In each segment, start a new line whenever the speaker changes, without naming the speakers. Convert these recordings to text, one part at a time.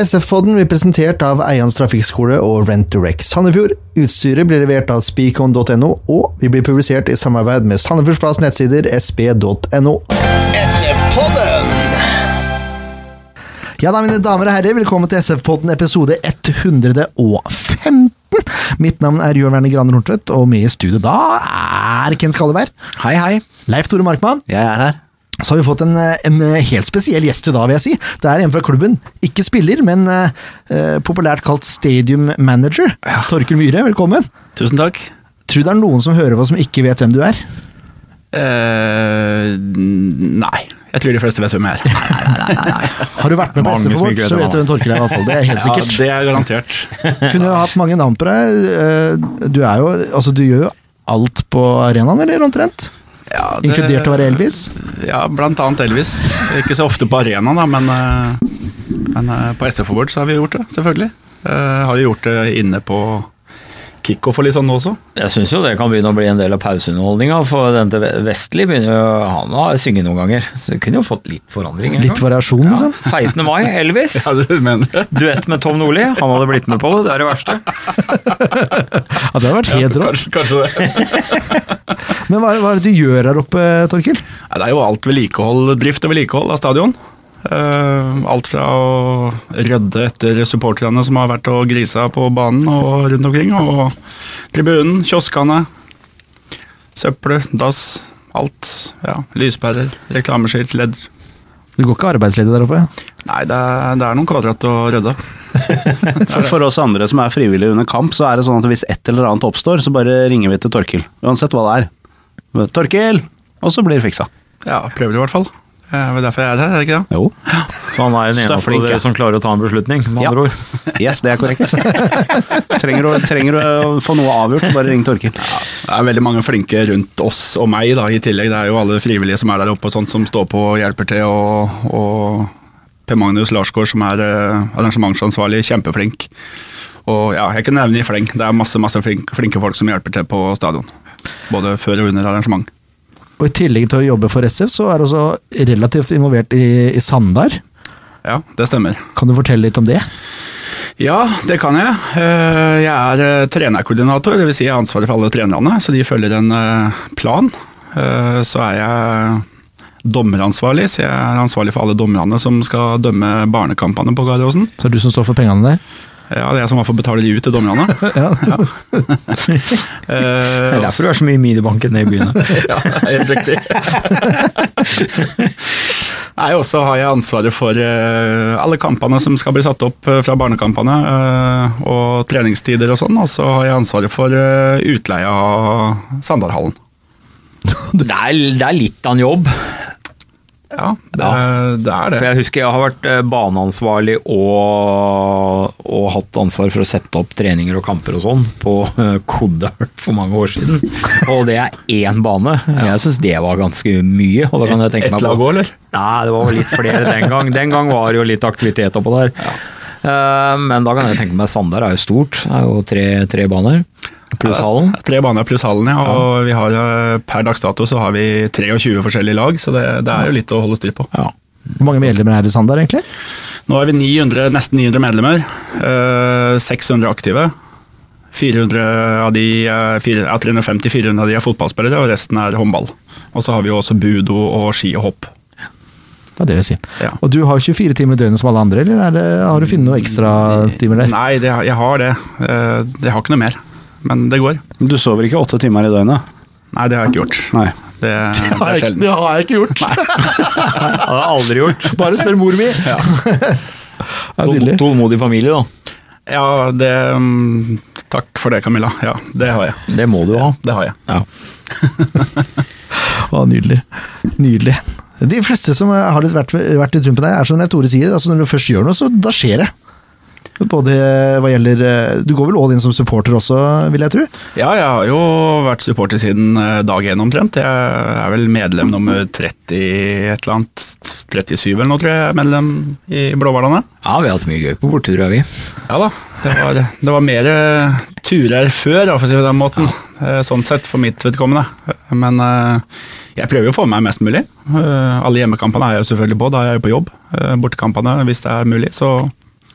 SF-podden blir presentert av Eians trafikkskole og Rent2Rec Sandefjord. Utstyret blir levert av speakon.no, og vi blir publisert i samarbeid med Sandefjordsplass nettsider sp.no. Ja da, mine damer og herrer, velkommen til SF-podden episode 115. Mitt navn er Jørn Werner Graner Horntvedt, og med i studio da er Ken Skalleberg.
Hei, hei.
Leif Tore Markmann.
Jeg er her.
Så har vi fått en, en helt spesiell gjest i dag, vil jeg si. Det er en fra klubben. Ikke spiller, men eh, eh, populært kalt stadium manager. Torkel Myhre, velkommen.
Tusen takk.
Tror du det er noen som hører på som ikke vet hvem du er?
eh nei. Jeg tror de fleste vet hvem jeg er.
Har du vært med på
Mange som
SF Award,
ikke vet
så
hvem
vet du
han
hvem Torkel er, i hvert fall. Det er helt sikkert.
det er garantert.
Kunne jo hatt mange navn på deg. Eh, Du er jo Altså, du gjør jo alt på arenaen, eller omtrent?
Ja, det-
Inkludert å være Elvis?
Ja, blant annet Elvis. Ikke så ofte på arenaen, da, men, eh, men eh, på SF Award så har vi gjort det, selvfølgelig. Eh, har jo gjort det inne på kickoff og litt sånn også.
Jeg syns jo det kan begynne å bli en del av pauseunderholdninga, for den til Ve- Vestli begynner jo Han har synget noen ganger, så du kunne jo fått litt forandring. en
Litt
gang.
variasjon, liksom?
16. mai, Elvis.
Ja, du mener det?
Duett med Tom Nordli. Han hadde blitt med på det, det er det verste.
Ja, det har vært helt rått.
Kanskje, kanskje det.
Men hva, hva er det du gjør her oppe, Torkil?
Nei, Det er jo alt vedlikehold, drift og vedlikehold av stadion. Eh, alt fra å rydde etter supporterne som har vært og grisa på banen og rundt omkring, og tribunen, kioskene, søppel, dass, alt. Ja, Lyspærer, reklameskilt, ledd.
Du går ikke arbeidsledig der oppe?
Nei, det er, det er noen kvadrat å rydde.
For, for oss andre som er frivillige under kamp, så er det sånn at hvis et eller annet oppstår, så bare ringer vi til Torkil. Uansett hva det er. Torkil! Og så blir det fiksa.
Ja, prøver i hvert fall. Eh, Det er vel derfor jeg er her, er det ikke det?
Jo.
Så han er
Så
den
det er
eneste
flink,
av
ja.
dere som klarer å ta en beslutning, med
Ja.
andre ord.
Yes, det er korrekt. Trenger du, trenger du å få noe avgjort, bare ring Torkil.
Det er veldig mange flinke rundt oss og meg da, i tillegg. Det er jo alle frivillige som er der oppe og sånt, som står på og hjelper til. Og, og Per Magnus Larsgaard, som er eh, arrangementsansvarlig, kjempeflink. Og ja, jeg kan nevne i fleng. Det er masse, masse flink, flinke folk som hjelper til på stadion. Både før og under arrangement.
Og i tillegg til å jobbe for SF, så er du også relativt involvert i, i Sandar.
Ja, det stemmer.
Kan du fortelle litt om det?
Ja, det kan jeg. Eh, Jeg er eh, trenerkoordinator, dvs. Si jeg har ansvaret for alle trenerne, så de følger en eh, plan. Eh, Så er jeg dommeransvarlig, så jeg er ansvarlig for alle dommerne som skal dømme barnekampene på Garderåsen.
Så er det du som står for pengene der?
Ja, det er jeg som i hvert fall betaler de ut til dommerne. Eh,
Ja.
Det er derfor du er så mye i minibanken nede i byen.
Ja, helt riktig. Nei, og så har jeg ansvaret for eh, alle kampene som skal bli satt opp eh, fra barnekampene, eh, og treningstider og sånn, og så har jeg ansvaret for eh, utleie av Sandarhallen.
Det er, det er litt av en jobb.
Ja, det, Eh, det er
For
det.
jeg husker jeg har vært eh, baneansvarlig og, og hatt ansvar for å sette opp treninger og kamper og sånn på eh, Kodal for mange år siden. Og det er én bane. Jeg syns det var ganske mye. Og da kan jeg tenke
Ett
meg
lag
på
òg, eller?
Nei, det var vel litt flere den gang. Den gang var det jo litt aktivitet oppå der. Eh, Men da kan jeg tenke meg Sandar er jo stort. Det er jo tre, tre baner pluss hallen.
Tre baner pluss hallen, ja. Og vi har, eh, per dags dato så har vi 23 forskjellige lag, så det, det er jo litt å holde styr på.
Ja.
Hvor mange medlemmer er det i Sandar, egentlig?
Nå er vi 900, nesten 900 medlemmer. eh, 600 aktive. 400 av de, er- fire- ja, 350-400 av de er fotballspillere, og resten er håndball. Og så har vi jo også budo og ski og hopp.
Det er det vi sier.
Ja.
Og du har 24 timer i døgnet som alle andre, eller er det, har du funnet noen ekstra timer der?
Nei, det, jeg har det. Eh, Jeg har ikke noe mer. Men det går.
Du sover ikke åtte timer i døgnet?
Nei, det har jeg ikke gjort.
Nei.
Det, det er sjelden.
har jeg ikke gjort.
Det har jeg aldri gjort.
Bare spør mor mi! Ja. nydelig.
Tålmodig familie, da.
Ja, det mm, Takk for det, Camilla. Ja, det har jeg.
Det må du ha.
Det har jeg.
Ja.
Å, nydelig. Nydelig. De fleste som har litt vært, vært litt rundt på deg, er som Leif Tore sier, altså når du først gjør noe, så da skjer det. Både hva gjelder eh, Du går vel all in som supporter også, vil jeg tro?
Ja, jeg har jo vært supporter siden eh, dag én omtrent. Jeg er vel medlem nummer 30 et eller annet. 37 eller noe, tror jeg jeg er medlem i Blåhvalene.
Ja, vi har hatt mye gøy på bortetur, har vi.
Ja da. Det var, det var mer eh, turer før, da, for å si det på den måten. Eh, Sånn sett, for mitt vedkommende. Men eh, jeg prøver jo å få med meg mest mulig. Eh, Alle hjemmekampene er jeg jo selvfølgelig på, da er jeg jo på jobb. Eh, Bortekampene, hvis det er mulig, så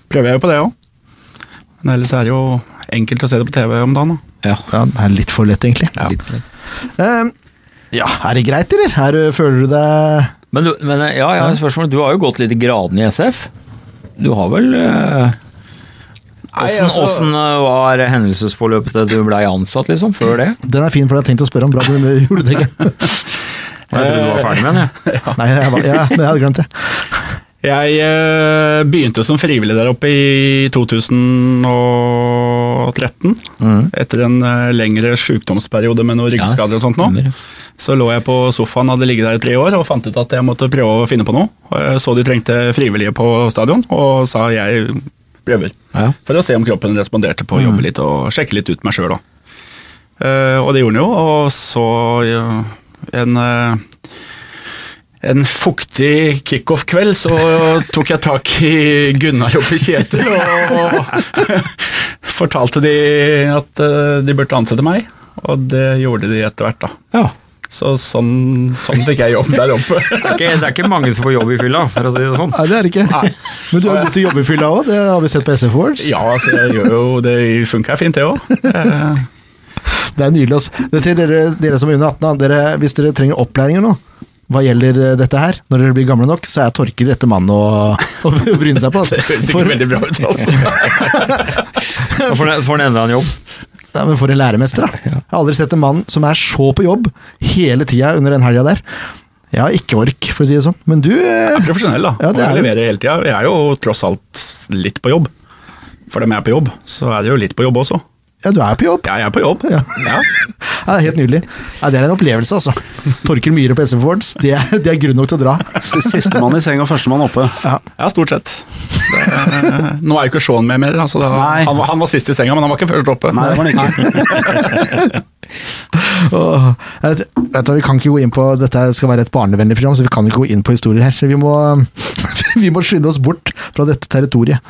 prøver jeg jo på det òg. Men ellers er det jo enkelt å se det på TV om dagen. Da.
Ja.
Ja, det er litt for lett, egentlig.
Ja.
Litt for det.
Eh, ja, er det greit, eller? Er, du- føler du deg
Men, du, men eh, ja, jeg har et spørsmål. Du har jo gått litt i gradene i SF. Du har vel eh, Åssen
altså-
åssen, eh, var hendelsesforløpet til du blei ansatt, liksom? Før det?
Den er fin, for jeg har tenkt å spørre om bra du gjorde det ikke.
Jeg trodde du var ferdig med den, jeg.
Nei, jeg, var- ja, men jeg hadde glemt det.
Jeg eh, begynte som frivillig der oppe i 2013.
Mm.
Etter en eh, lengre sykdomsperiode med noen ryggskader og sånt nå.
stemmer.
Så lå jeg på sofaen, hadde ligget der i tre år og fant ut at jeg måtte prøve å finne på noe. Og jeg Så de trengte frivillige på stadion, og sa jeg prøver.
Ja.
For å se om kroppen responderte på å jobbe litt og sjekke litt ut meg sjøl òg. og det gjorde den jo, og så eh, en eh, en fuktig kickoff-kveld så tok jeg tak i Gunnar oppe i Kjetil og fortalte de at eh, de burde ansette meg, og det gjorde de etter hvert, da.
Ja.
Så sånn, sånn fikk jeg jobb der oppe.
Det, er ikke, det er ikke mange som får jobb i fylla, for å si det sånn.
Nei, det er det ikke. Men du har gått til jobbefylla òg, det har vi sett på SF Awards.
Ja, altså, jeg gjør jo, det funka fint, det òg.
Det er nydelig. ass. Det er til dere, dere som er under 18, da. dere, hvis dere trenger opplæring nå, hva gjelder eh, dette her, når dere blir gamle nok, så er Torkel rette mannen å, å bryne seg på. ass. For,
veldig bra ut, altså.
Da får den- får den enda en jobb.
ja, men for en læremester, da. Jeg har aldri sett en mann som er så på jobb hele tida under den helga der. Jeg har ikke ork, for å si det sånn. Men du eh,
Profesjonell, da.
Ja, det
og
er
jeg
du.
leverer hele tida. Jeg er jo tross alt litt på jobb. For dem jeg er på jobb, så er det jo litt på jobb også.
ja, du er på jobb.
Jeg er på jobb.
Ja.
Ja.
Ja, det er helt nydelig. Ja, det er en opplevelse, altså. Torkel Myhre på SF Awards, det er, det er grunn nok til å dra.
Sistemann i seng og førstemann oppe.
ja, stort sett. Det, er- nå er jo ikke Sean med mer. Altså, da,
Nei.
han, var- han var sist i senga, men han var ikke først oppe.
Nei, det var det ikke.
Åh, jeg vet, vet du, vi kan ikke gå inn på Dette skal være et barnevennlig program, så vi kan ikke gå inn på historier her. Så vi må, vi må skynde oss bort fra dette territoriet.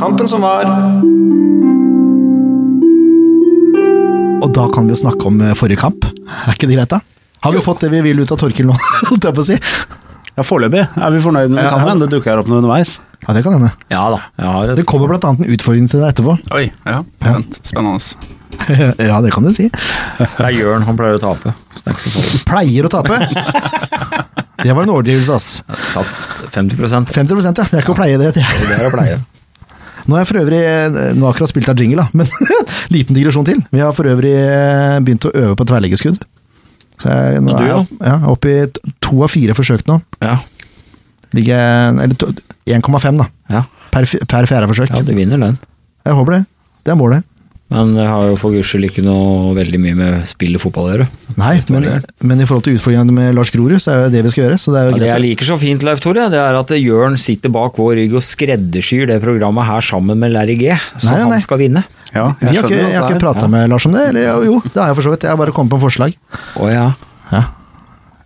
Kampen som var.
Og da kan vi jo snakke om eh, forrige kamp. Er ikke det greit, da? Har vi fått det vi vil ut av Torkil nå, holdt jeg på å si?
Ja, Foreløpig er vi fornøyd med
Ja, ja.
kampen. Det dukker opp noe underveis.
Ja, det kan hende.
Ja da. Jeg har et
Det kommer blant annet en utfordring til deg etterpå.
Oi, ja. Spent. Spennende.
Ja, det kan du si.
Det er Jørn, han pleier å tape. Så det er ikke så farlig.
Pleier å tape. Det var en overdrivelse, ass.
Tatt 50
50 ja. Det er ikke å pleie det. det.
Det er å pleie.
Nå har jeg for øvrig eh, Nå har jeg akkurat spilt av jingle, da, men liten digresjon til. Vi har for øvrig eh, begynt å øve på tverrleggerskudd. Så jeg, nå
Og du,
er jeg ja, oppe i t- to av fire forsøk nå.
Ja.
Ligger jeg Eller to- 1,5, da.
ja.
Per, fi- per fjerde forsøk.
Ja, du vinner den.
Jeg håper det. Det er målet.
Men det har jo for guds skyld ikke noe veldig mye med spill og fotball å gjøre.
Nei, men, men i forhold til utfordringene med Lars Grorud, så er jo det vi skal gjøre. Så det er
Ja,
jo
det jeg
greit.
liker så fint, Leif Tore, det er at Jørn sitter bak vår rygg og skreddersyr det programmet her sammen med Larry G, så
Nei, nei, nei.
han skal vinne.
Ja,
Vi har ikke, jeg har ikke prata med Lars om det. Eller jo, jo, det har jeg for så vidt. Jeg har bare kommet på en forslag.
Å ja.
Ja.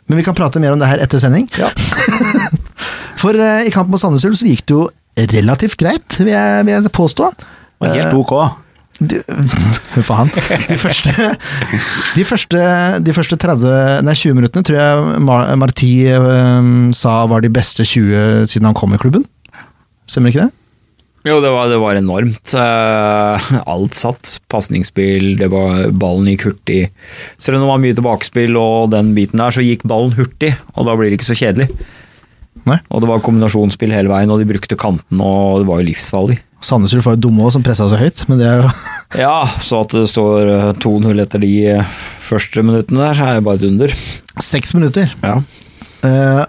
Men vi kan prate mer om det her etter sending. For eh, i kampen mot Sandnes Ulf så gikk det jo relativt greit, vil jeg, vil jeg påstå.
Og helt ok.
De, hør på han. De første, de første, de første 30, nei, 20 minuttene tror jeg Mar Marti eh, sa var de beste 20 siden han kom i klubben. Stemmer ikke det?
Jo, det var, det var enormt. Eh, alt satt. Pasningsspill, det var ballen gikk hurtig. Selv om det var mye tilbakespill og den biten der, så gikk ballen hurtig, og da blir det ikke så kjedelig.
Nei.
Og det var kombinasjonsspill hele veien, og de brukte kantene, og det var jo livsfarlig.
Sandnes Ulf var jo dumme òg, som pressa så høyt, men det er jo
Ja, så at det står eh, 2-0 etter de eh, første minuttene der, så er det bare et under.
seks minutter.
Ja.
Eh,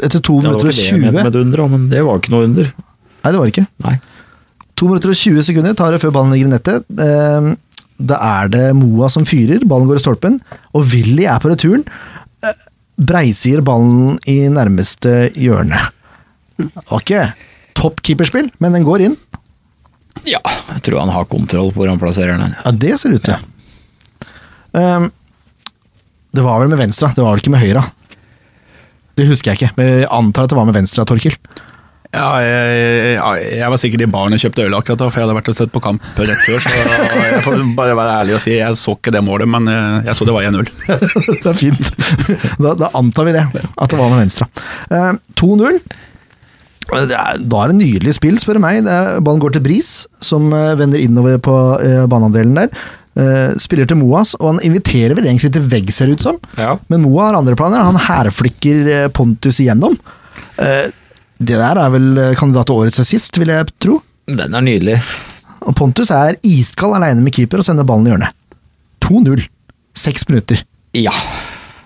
etter to
Ja, det
minutter og
var ikke det jeg mente
20
med et under, da, men det var ikke noe under.
Nei, det var det ikke.
Nei.
2 minutter og 20 sekunder tar det før ballen ligger i nettet. Ehm, Da er det Moa som fyrer, ballen går i stolpen, og Willy er på returen. Eh, Breisier ballen i nærmeste hjørne. Det var ikke topp keeperspill, men den går inn.
Ja, jeg tror han har kontroll på hvor han plasserer den.
Ja, det ser det ut til. Ehm, det var vel med venstre, det var vel ikke med høyre. Det husker jeg ikke, men jeg antar at det var med venstre, Torkil.
Ja, jeg, jeg, jeg var sikkert i baren og kjøpte øl akkurat da, for jeg hadde vært og sett på kamp rett før. Så jeg får bare være ærlig og si jeg så ikke det målet, men eh, jeg så det var 1-0.
det er fint. Da, da antar vi det, at det var med venstre. Eh, 2-0. Det er, da er det nydelig spill, spør du meg. Det er, ballen går til Bris, som eh, vender innover på eh, banehandelen der. Eh, spiller til Moas, og han inviterer vel egentlig til vegg, ser det ut som.
Ja.
Men Moa har andre planer. Han hærflikker eh, Pontus igjennom. Eh, det der er vel eh, kandidat til årets assist, vil jeg tro.
Den er nydelig.
Og Pontus er iskald aleine med keeper og sender ballen i hjørnet. 2-0. Seks minutter.
Ja.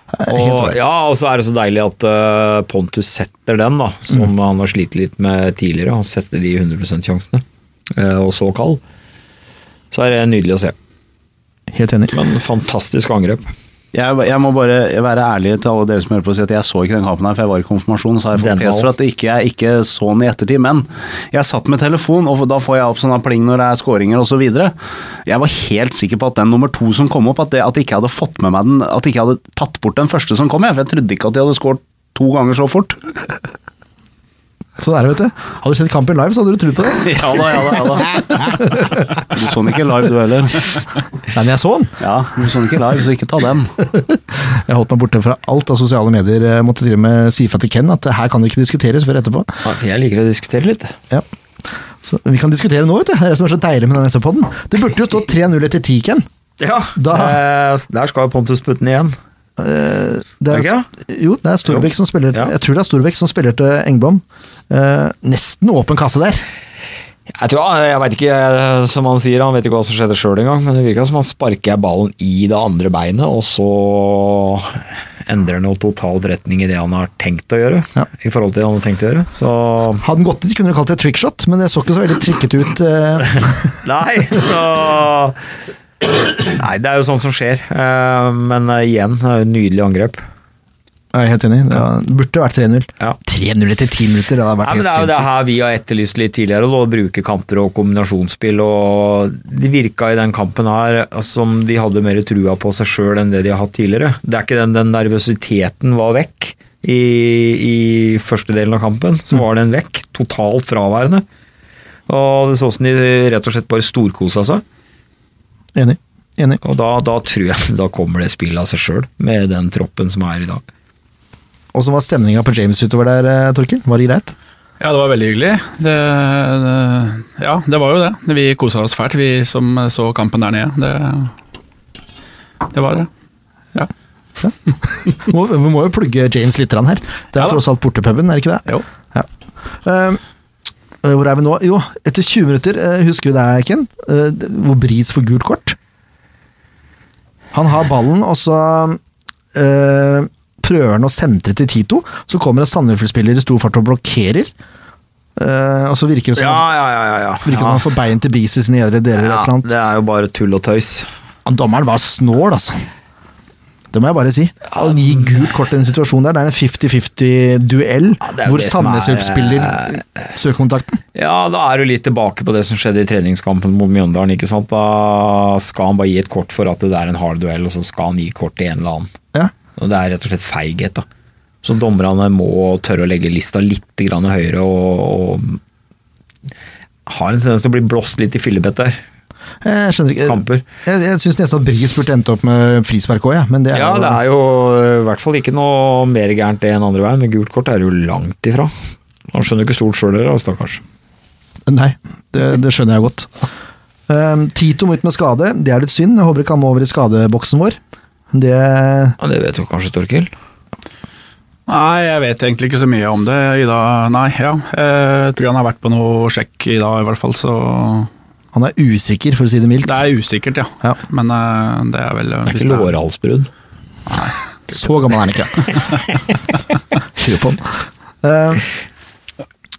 Eh, helt
Og,
ålreit.
ja, og så er det så deilig at eh, Pontus setter den, da, som han har slitt litt med tidligere. Han setter de 100 %-sjansene, eh, og så kald. Så er det nydelig å se.
Helt enig.
Men fantastisk angrep.
Jeg, jeg må bare være ærlig til alle dere som hører på og si at jeg så ikke den kampen her, for jeg var i konfirmasjon. Så har jeg
Den
fått pes
var-
for at ikke, jeg ikke så den i ettertid. Men jeg satt med telefon, og da får jeg opp sånne pling når det er scoringer osv. Jeg var helt sikker på at den nummer to som kom opp, at, det, at jeg ikke hadde fått med meg den, at jeg ikke hadde tatt bort den første som kom, jeg, for jeg trodde ikke at de hadde skåret to ganger så fort.
Sånn er det, vet du. Hadde du sett kampen live, så hadde du trodd på det.
Ja da, ja da, ja da. Du så den ikke live, du heller.
Nei, men jeg så den.
Ja, du så den ikke live, så ikke ta den.
Jeg holdt meg borte fra alt av sosiale medier. Jeg måtte til og med si fra til Ken at her kan det ikke diskuteres før etterpå.
Jeg liker å diskutere litt.
Ja. Så vi kan diskutere nå, vet du. Det er det som er så deilig med den SV-podden. Det burde jo stå 3-0 etter 10, Ken.
Ja,
Da-
eh, der skal jo Pontus putte den igjen.
Eh, Det
Er det ikke
jo, det er Storbekk som spiller
Ja.
Jeg tror det er Storbekk som spiller til Engblom. Eh, nesten åpen kasse der.
Jeg tror, eh, jeg vet ikke, som han sier, han vet ikke hva som skjedde sjøl engang, men det virka som han sparka ballen i det andre beinet, og så endrer han jo totalt retning i det han har tenkt å gjøre.
Ja.
I forhold til det han har tenkt å gjøre. Så
Hadde den gått dit, kunne du kalt det trickshot, men det så ikke så veldig trikket ut. eh.
Nei, så Nei, det er jo sånn som skjer. Eh, Men eh, igjen, det er jo et nydelig angrep.
Jeg er helt enig. Det var- burde vært 3-0.
Ja.
3-0 etter 10 minutter, det hadde vært
Nei,
helt
men det er jo det
sinnssykt.
her vi har etterlyst litt tidligere, da, å bruke kanter og kombinasjonsspill. og De virka i den kampen her altså, som de hadde mer trua på seg sjøl enn det de har hatt tidligere. Det er ikke den, den nervøsiteten var vekk i, i første delen av kampen. Så var den vekk. Totalt fraværende. Og Det så ut som de rett og slett bare storkosa seg.
Enig. Enig.
og da, da tror jeg da kommer det spillet av seg sjøl, med den troppen som er i dag.
Åssen var stemninga på James utover der, eh, Torkil? Var det greit?
Ja, det var veldig hyggelig. Det, det, ja, det var jo det. Vi kosa oss fælt, vi som så kampen der nede. Det, det var det. Ja.
må, vi må jo plugge James litt grann her. Det er
Ja da.
tross alt bortepuben, er det ikke det?
Jo.
Ja. Eh, eh, hvor er vi nå? Jo, etter 20 minutter, eh, husker vi det, Ken? Eh, d- hvor Bris får gult kort. Han har ballen, og så eh, prøver han å sentre til Tito. Så kommer en Sandefjord-spiller i stor fart og blokkerer. Eh, og så virker det som han-
ja, ja. ja,
virker det som han får bein til Bris i sine edre deler. eller et eller annet.
det er jo bare tull og tøys.
Han dommeren var snål, altså. Det må jeg bare si. Å gi gult kort i den situasjonen der, det er en 50-50-duell
det er jo
hvor
det som er,
Sandnesup spiller søkekontakten.
Ja, da er du litt tilbake på det som skjedde i treningskampen mot Mjøndalen. ikke sant? Da skal han bare gi et kort for at det er en hard duell, og så skal han gi kort til en eller annen.
Ja.
Og Det er rett og slett feighet. da. Så dommerne må tørre å legge lista litt grann høyere og, og har en tendens til å bli blåst litt i fillebett der.
Jeg skjønner ikke
Kamper.
Jeg, jeg syns nesten at Bris burde endt opp med frispark òg, ja. men det er,
Ja, det er jo i hvert fall ikke noe mer gærent det enn andre veien, men gult kort er jo langt ifra. Han skjønner ikke stort sjøl, dere, stakkars.
Nei, det, det skjønner jeg godt. Um, Tito må ut med skade, det er litt synd. Jeg håper ikke han må over i skadeboksen vår. Det
Ja, Det vet du kanskje, Torkil?
Nei, jeg vet egentlig ikke så mye om det i dag. Nei, ja. Jeg tror han har vært på noe sjekk i dag, i hvert fall. Så
Han er usikker, for å si det mildt.
det er usikkert, ja.
Ja.
Men eh, det er vel
Det er
hvis
ikke lårhalsbrudd.
Så gammel er han ikke. Skru på den. Eh,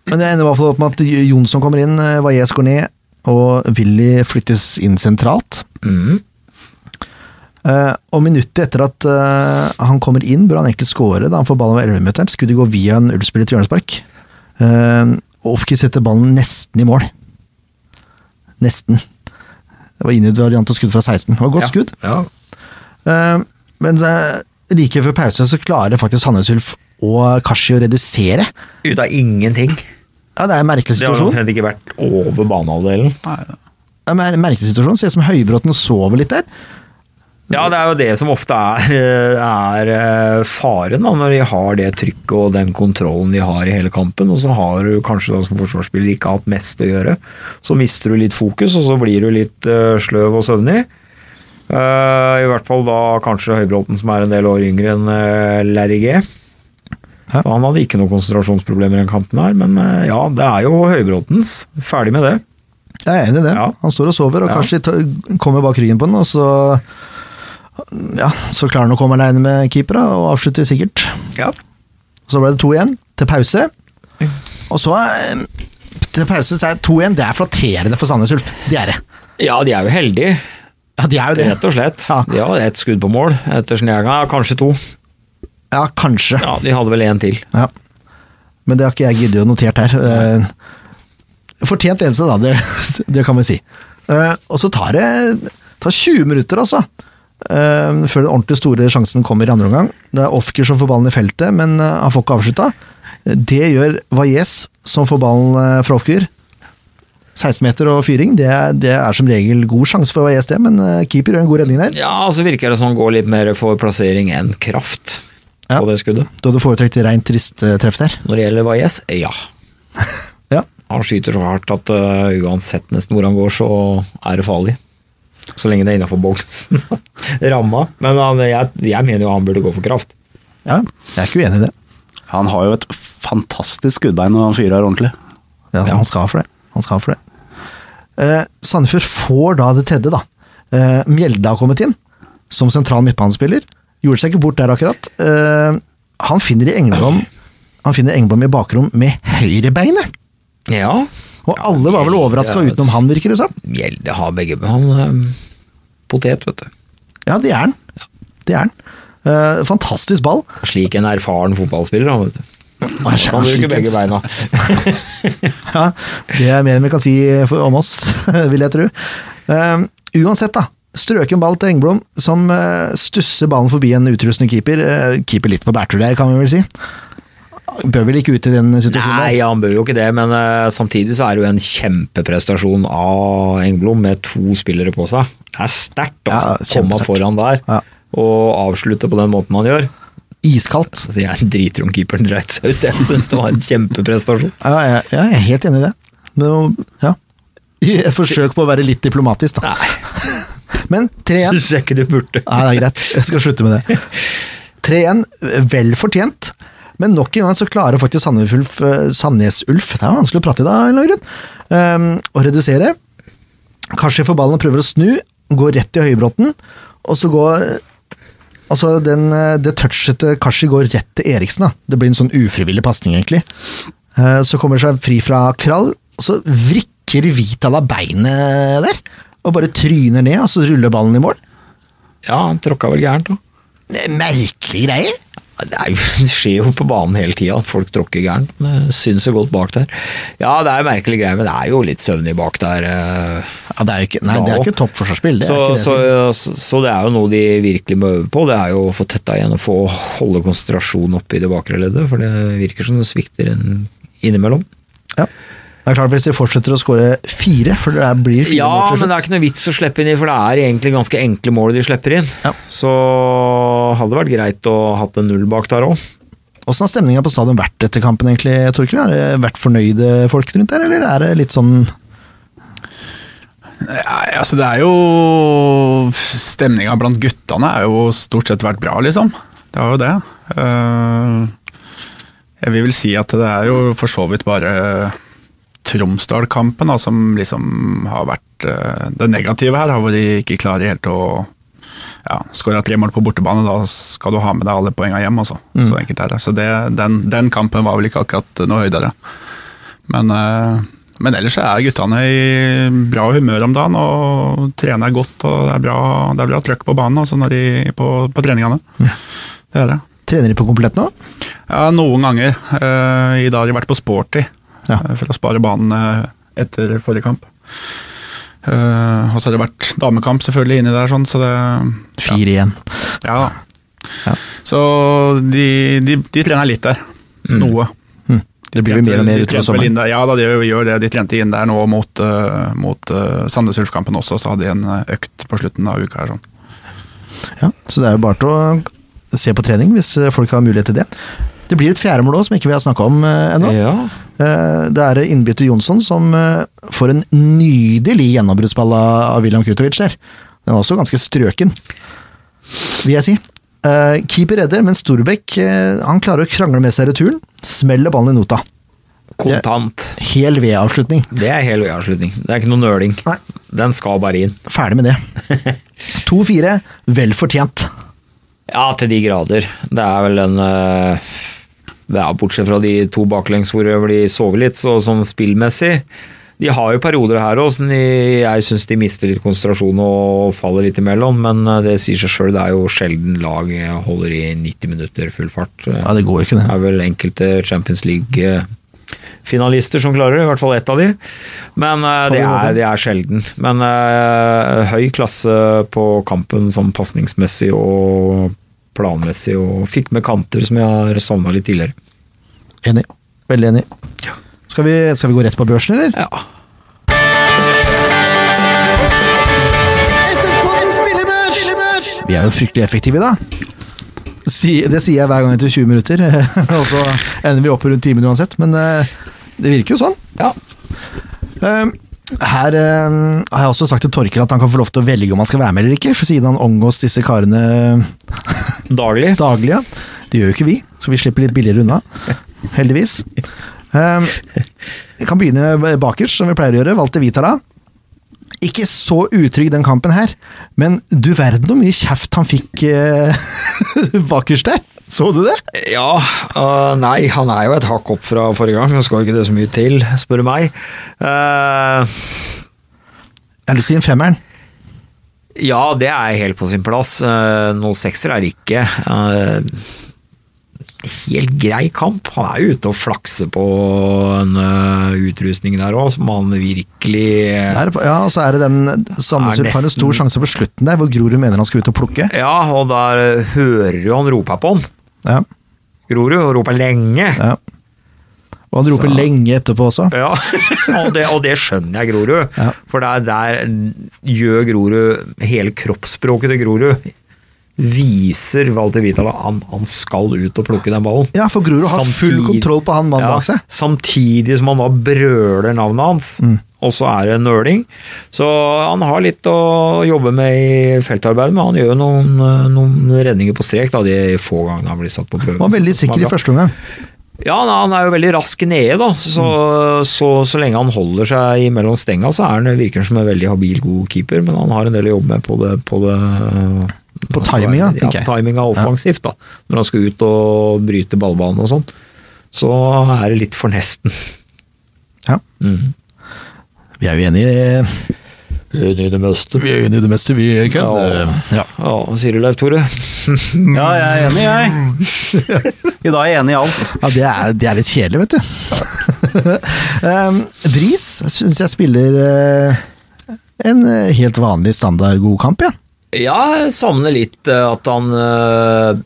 men det ender i hvert fall opp med at Jonsson kommer inn, eh, Valles går ned, og Willy flyttes inn sentralt.
Mm.
Eh, og minuttet etter at eh, han kommer inn, bør han egentlig score da han får ballen ved 11-meteren. Skuddet går via en Ulf-spiller til hjørnespark. Eh, og Ofki setter ballen nesten i mål. Nesten. Det var innvendig variant av skudd fra 16. Det var godt skudd.
Ja.
Eh, Men det, like før pause så klarer faktisk Hannes Ulf og Kashi å redusere.
Ut av ingenting.
Ja, Det er en merkelig
Det har
situasjon.
omtrent ikke vært over banehalvdelen.
Nei,
Det er en merkelig situasjon. Ser ut som Høybråten sover litt der.
Ja, det er jo det som ofte er, eh, er eh, faren da, når de har det trykket og den kontrollen de har i hele kampen. Og så har du kanskje da som forsvarsspiller ikke hatt mest å gjøre. Så mister du litt fokus, og så blir du litt eh, sløv og søvnig. Eh, I hvert fall da kanskje Høybråten, som er en del år yngre enn uh, Larry G.
Hæ?
Han hadde ikke noen konsentrasjonsproblemer i den kampen her, men eh, ja, det er jo Høybråtens. Ferdig med det.
Jeg er enig i det.
Ja.
Han står og sover, og
Ja.
kanskje de tar- kommer bak ryggen på den, og så ja, så klarer han å komme aleine med keepera, og avslutter sikkert.
Ja.
Så ble det to igjen, til pause. Og så eh, til pause så er det to igjen. Det er flatterende for Sandnes Ulf. De er det.
Ja, de er jo heldige,
Ja, de er jo
rett
det.
og slett.
Ja.
De har ett skudd på mål, etter Snega, kanskje to.
Ja, kanskje.
Ja, De hadde vel én til.
Ja. Men det har ikke jeg giddet å notert her. Eh, Fortjent ledelse, da. Det, det kan vi si. Eh, Og så tar det tar 20 minutter, altså. eh, Før den ordentlig store sjansen kommer i andre omgang. Det er Ofker som får ballen i feltet, men eh, han får ikke avslutta. Det gjør Valles, som får ballen eh, fra Ofker. 16 meter og fyring, det, er- det er som regel god sjanse for Valles, det, men eh, keeper gjør en god redning der.
Ja, så virker det som han går litt mer for plassering enn kraft
Ja.
på det skuddet.
Du hadde foretrekt reint trist eh, treff der.
Når det gjelder Valles, ja.
Ja.
Han skyter så hardt at øh, uansett nesten hvor han går, så er det farlig. Så lenge det er innafor boksen. Ramma. Men han, jeg, jeg mener jo han burde gå for kraft.
ja. Jeg er ikke uenig i det.
Han har jo et fantastisk skuddbein når han fyrer ordentlig.
Ja,
Ja.
han skal ha for det. Han skal ha for det. Eh, Sandefjord får da det tredje, da. Eh, Mjelde har kommet inn som sentral midtbanespiller. Gjorde seg ikke bort der, akkurat. Eh, han finner i Engblom han finner Engblom i bakrom med høyrebeinet!
Ja.
Og alle var vel overraska
Mjelde-
utenom han, virker det som.
Gjelde har begge Han øh, potet, vet du.
Ja, det er han. Det er han. Eh, fantastisk ball.
Slik en erfaren fotballspiller, han, vet du.
Han er
Han bruker
slik en-
begge beina.
Ja, det er mer enn vi kan si eh, for, om oss, vil jeg tro. Eh, uansett, da. Strøken ball til Engblom, som eh, stusser ballen forbi en utrustende keeper. Eh, keeper litt på bærtur der, kan vi vel si. Bør vel ikke ut i den situasjonen?
Nei, han bør jo ikke det, men eh, samtidig så er det jo en kjempeprestasjon av Engblom med to spillere på seg. Det er sterkt å
Ja,
komme
kjempesterkt.
foran der
Ja.
og avslutte på den måten han gjør.
der. Iskaldt.
Altså, jeg driter om keeperen dreit seg ut, jeg syns det var en kjempeprestasjon.
Ja, jeg, ja, jeg er helt enig i det. Men, ja. I Et forsøk på å være litt diplomatisk, da.
Nei,
Men 3-1.
syns jeg ikke du burde.
Nei, det er greit. Jeg skal slutte med det. 3-1, vel fortjent. Men nok en gang så klarer faktisk Sandnes Ulf, eh, Sandnes Ulf Det er vanskelig å prate i dag, av en eller annen grunn. ehm, Å redusere. Kanskje får ballen og prøver å snu. Går rett i Høybråten. Og så går Altså, den, eh, det touchet til Kashi går rett til Eriksen. da. Det blir en sånn ufrivillig pasning, egentlig. Eh, Så kommer seg fri fra Krall, og så vrikker Vitala beinet der. Og bare tryner ned, og så ruller ballen i mål.
Ja, han tråkka vel gærent, da.
Merkelige greier.
Ja, Det, er jo, det skjer jo på banen hele tida at folk tråkker gærent. men Det syns så godt bak der. Ja, det er merkelige greier, men det er jo litt søvnig bak der. eh.
Ja, det er jo ikke, nei, det er ikke toppforsvarsspill. Det er
så,
ikke det.
så, så, så det er jo noe de virkelig må øve på. Det er jo å få tetta igjen og få holde konsentrasjonen oppe i det bakre leddet. For det virker som det svikter en innimellom.
ja. Det er klart Hvis de fortsetter å skåre fire, for det der blir fire
Ja,
mål til
men det er
slutt
ikke noe vits å slippe inn i, for det er egentlig ganske enkle mål de slipper inn.
Ja.
Så hadde det vært greit å hatt en null bak der òg.
Åssen har stemninga på stadion vært etter kampen, egentlig, Torkel? Har det vært fornøyde folk rundt der, eller er det litt sånn
Nei, altså det er jo Stemninga blant guttene er jo stort sett vært bra, liksom. Det er jo det. Eh, Jeg vil vel si at det er jo for så vidt bare eh, Tromsdal-kampen da, som liksom har vært eh, Det negative her har vært de ikke klarer helt å ja, Skåra tre mål på bortebane, da skal du ha med deg alle poengene hjem. Altså. Så enkelt er det. Så det, den, den kampen var vel ikke akkurat noe høydere. Men, eh, men ellers så er guttene i bra humør om dagen og trener godt. og Det er bra, det er bra trøkk på banen altså når de, på, på treningene. Det er det.
Trener de på komplett nå?
Ja, noen ganger. eh, I dag har de vært på sporty
Ja.
eh, for å spare banen eh, etter forrige kamp. Eh, og så har det vært damekamp selvfølgelig inni der, sånn, så det,
Fire igjen.
ja da. Så de, de, de trener litt der. Noe.
Hm. Det blir jo mer og mer utover sommeren.
sommeren. Ja da, de gjør det. De trente inn der nå mot, eh, mot eh, Sandnes Ulf-kampen også, så hadde de en eh, økt på slutten av uka. her sånn.
Ja, så det er jo bare til å se på trening, hvis eh, folk har mulighet til det. Det blir et fjerde mål òg, som ikke vi har snakka om eh, ennå.
Ja.
Eh, Det er innbytter Jonsson som eh, får en nydelig gjennombruddsball av av William Kutovic der. Den er også ganske strøken, vil jeg si. Eh, Keeper redder, men Storbekk eh, han klarer å krangle med seg returen. Smeller ballen i nota.
Kontant.
Hel V-avslutning.
Det er hel avslutning. Det er ikke noe nøling.
Nei.
Den skal bare inn.
Ferdig med det. 2-4, vel fortjent.
Ja, til de grader. Det er vel en eh, det er Bortsett fra de to baklengs hvor de sover litt, så sånn spillmessig De har jo perioder her òg som de- jeg syns de mister litt konsentrasjon og faller litt imellom, men eh, det sier seg sjøl. Det er jo sjelden lag holder i 90 minutter full fart. eh.
Ja, det går jo ikke,
Det
det.
er vel enkelte Champions League-finalister som klarer det, i hvert fall ett av de. Men eh, det er, det er sjelden. Men eh, høy klasse på kampen sånn pasningsmessig og planmessig, og fikk med kanter som jeg har savna litt tidligere.
Enig. Veldig enig. Skal vi, skal vi gå rett på børsen, eller?
Ja.
Vi er jo fryktelig effektive i dag. Si, det sier jeg hver gang etter 20 minutter, og så ender vi opp rundt timen uansett. Men eh, det virker jo sånn.
ja.
Eh, her eh, har jeg også sagt til Torkel at han kan få lov til å velge om han skal være med eller ikke, for siden han omgås disse karene
Daglig.
daglig. ja. Det gjør jo ikke vi, så vi slipper litt billigere unna. Heldigvis. Eh, Jeg kan begynne bakerst, som vi pleier å gjøre. Walter Vitala. Ikke så utrygg den kampen her, men du verden hvor mye kjeft han fikk eh, bakerst der. Så du det?
Ja, øh, nei, han er jo et hakk opp fra forrige gang, så skal jo ikke det så mye til, spør du meg. Eh,
Jeg har lyst til å gi en femmeren.
Ja, det er helt på sin plass. Eh, Noe sekser er det ikke. Eh, Helt grei kamp. Han er jo ute og flakser på en eh, utrustning der òg, som han virkelig eh,
Der, ja, og så er det den
Er
Sandnes
nesten-
har en stor sjanse på slutten der, hvor Grorud mener han skal ut og plukke.
Ja, og der hører jo han roper på han.
Ja,
Grorud, og roper lenge.
ja. Og han roper lenge etterpå også.
Ja, og det, og det skjønner jeg Grorud.
Ja.
For der, der gjør Grorud Hele kroppsspråket til Grorud viser Walter Vitala han, han skal ut og plukke den ballen.
Ja, for Grorud har full
Samtidig-
kontroll på han mannen bak seg.
Samtidig som han da brøler navnet hans,
Mm.
og så er det en nøling. Så han har litt å jobbe med i feltarbeidet, men han gjør jo noen, eh, noen redninger på strek da, de få gangene han blir satt på prøve.
Han var veldig sikker i første omgang.
Ja, nei, han er jo veldig rask nede, da. Så, så, så lenge han holder seg mellom stenga, så er han, virker han som en veldig habil, god keeper, men han har en del å jobbe med på det På, det,
På timinga,
ja,
tenker jeg.
timinga offensivt, da. Når han skal ut og bryte ballbanen og sånn. Så er det litt for nesten.
Ja.
Mm.
Vi er jo enige i
Enig i det meste.
Vi er enige i det meste, vi, Ken. Eh,
Ja.
Ja.
Ja, hva sier du Leif Tore?
Ja, jeg er enig, jeg. I dag er jeg enig i alt.
Ja, det er, det er litt kjedelig, vet du. um, Bris syns jeg spiller eh, en eh, helt vanlig standard god kamp, ja.
Ja, jeg savner litt eh, at han eh,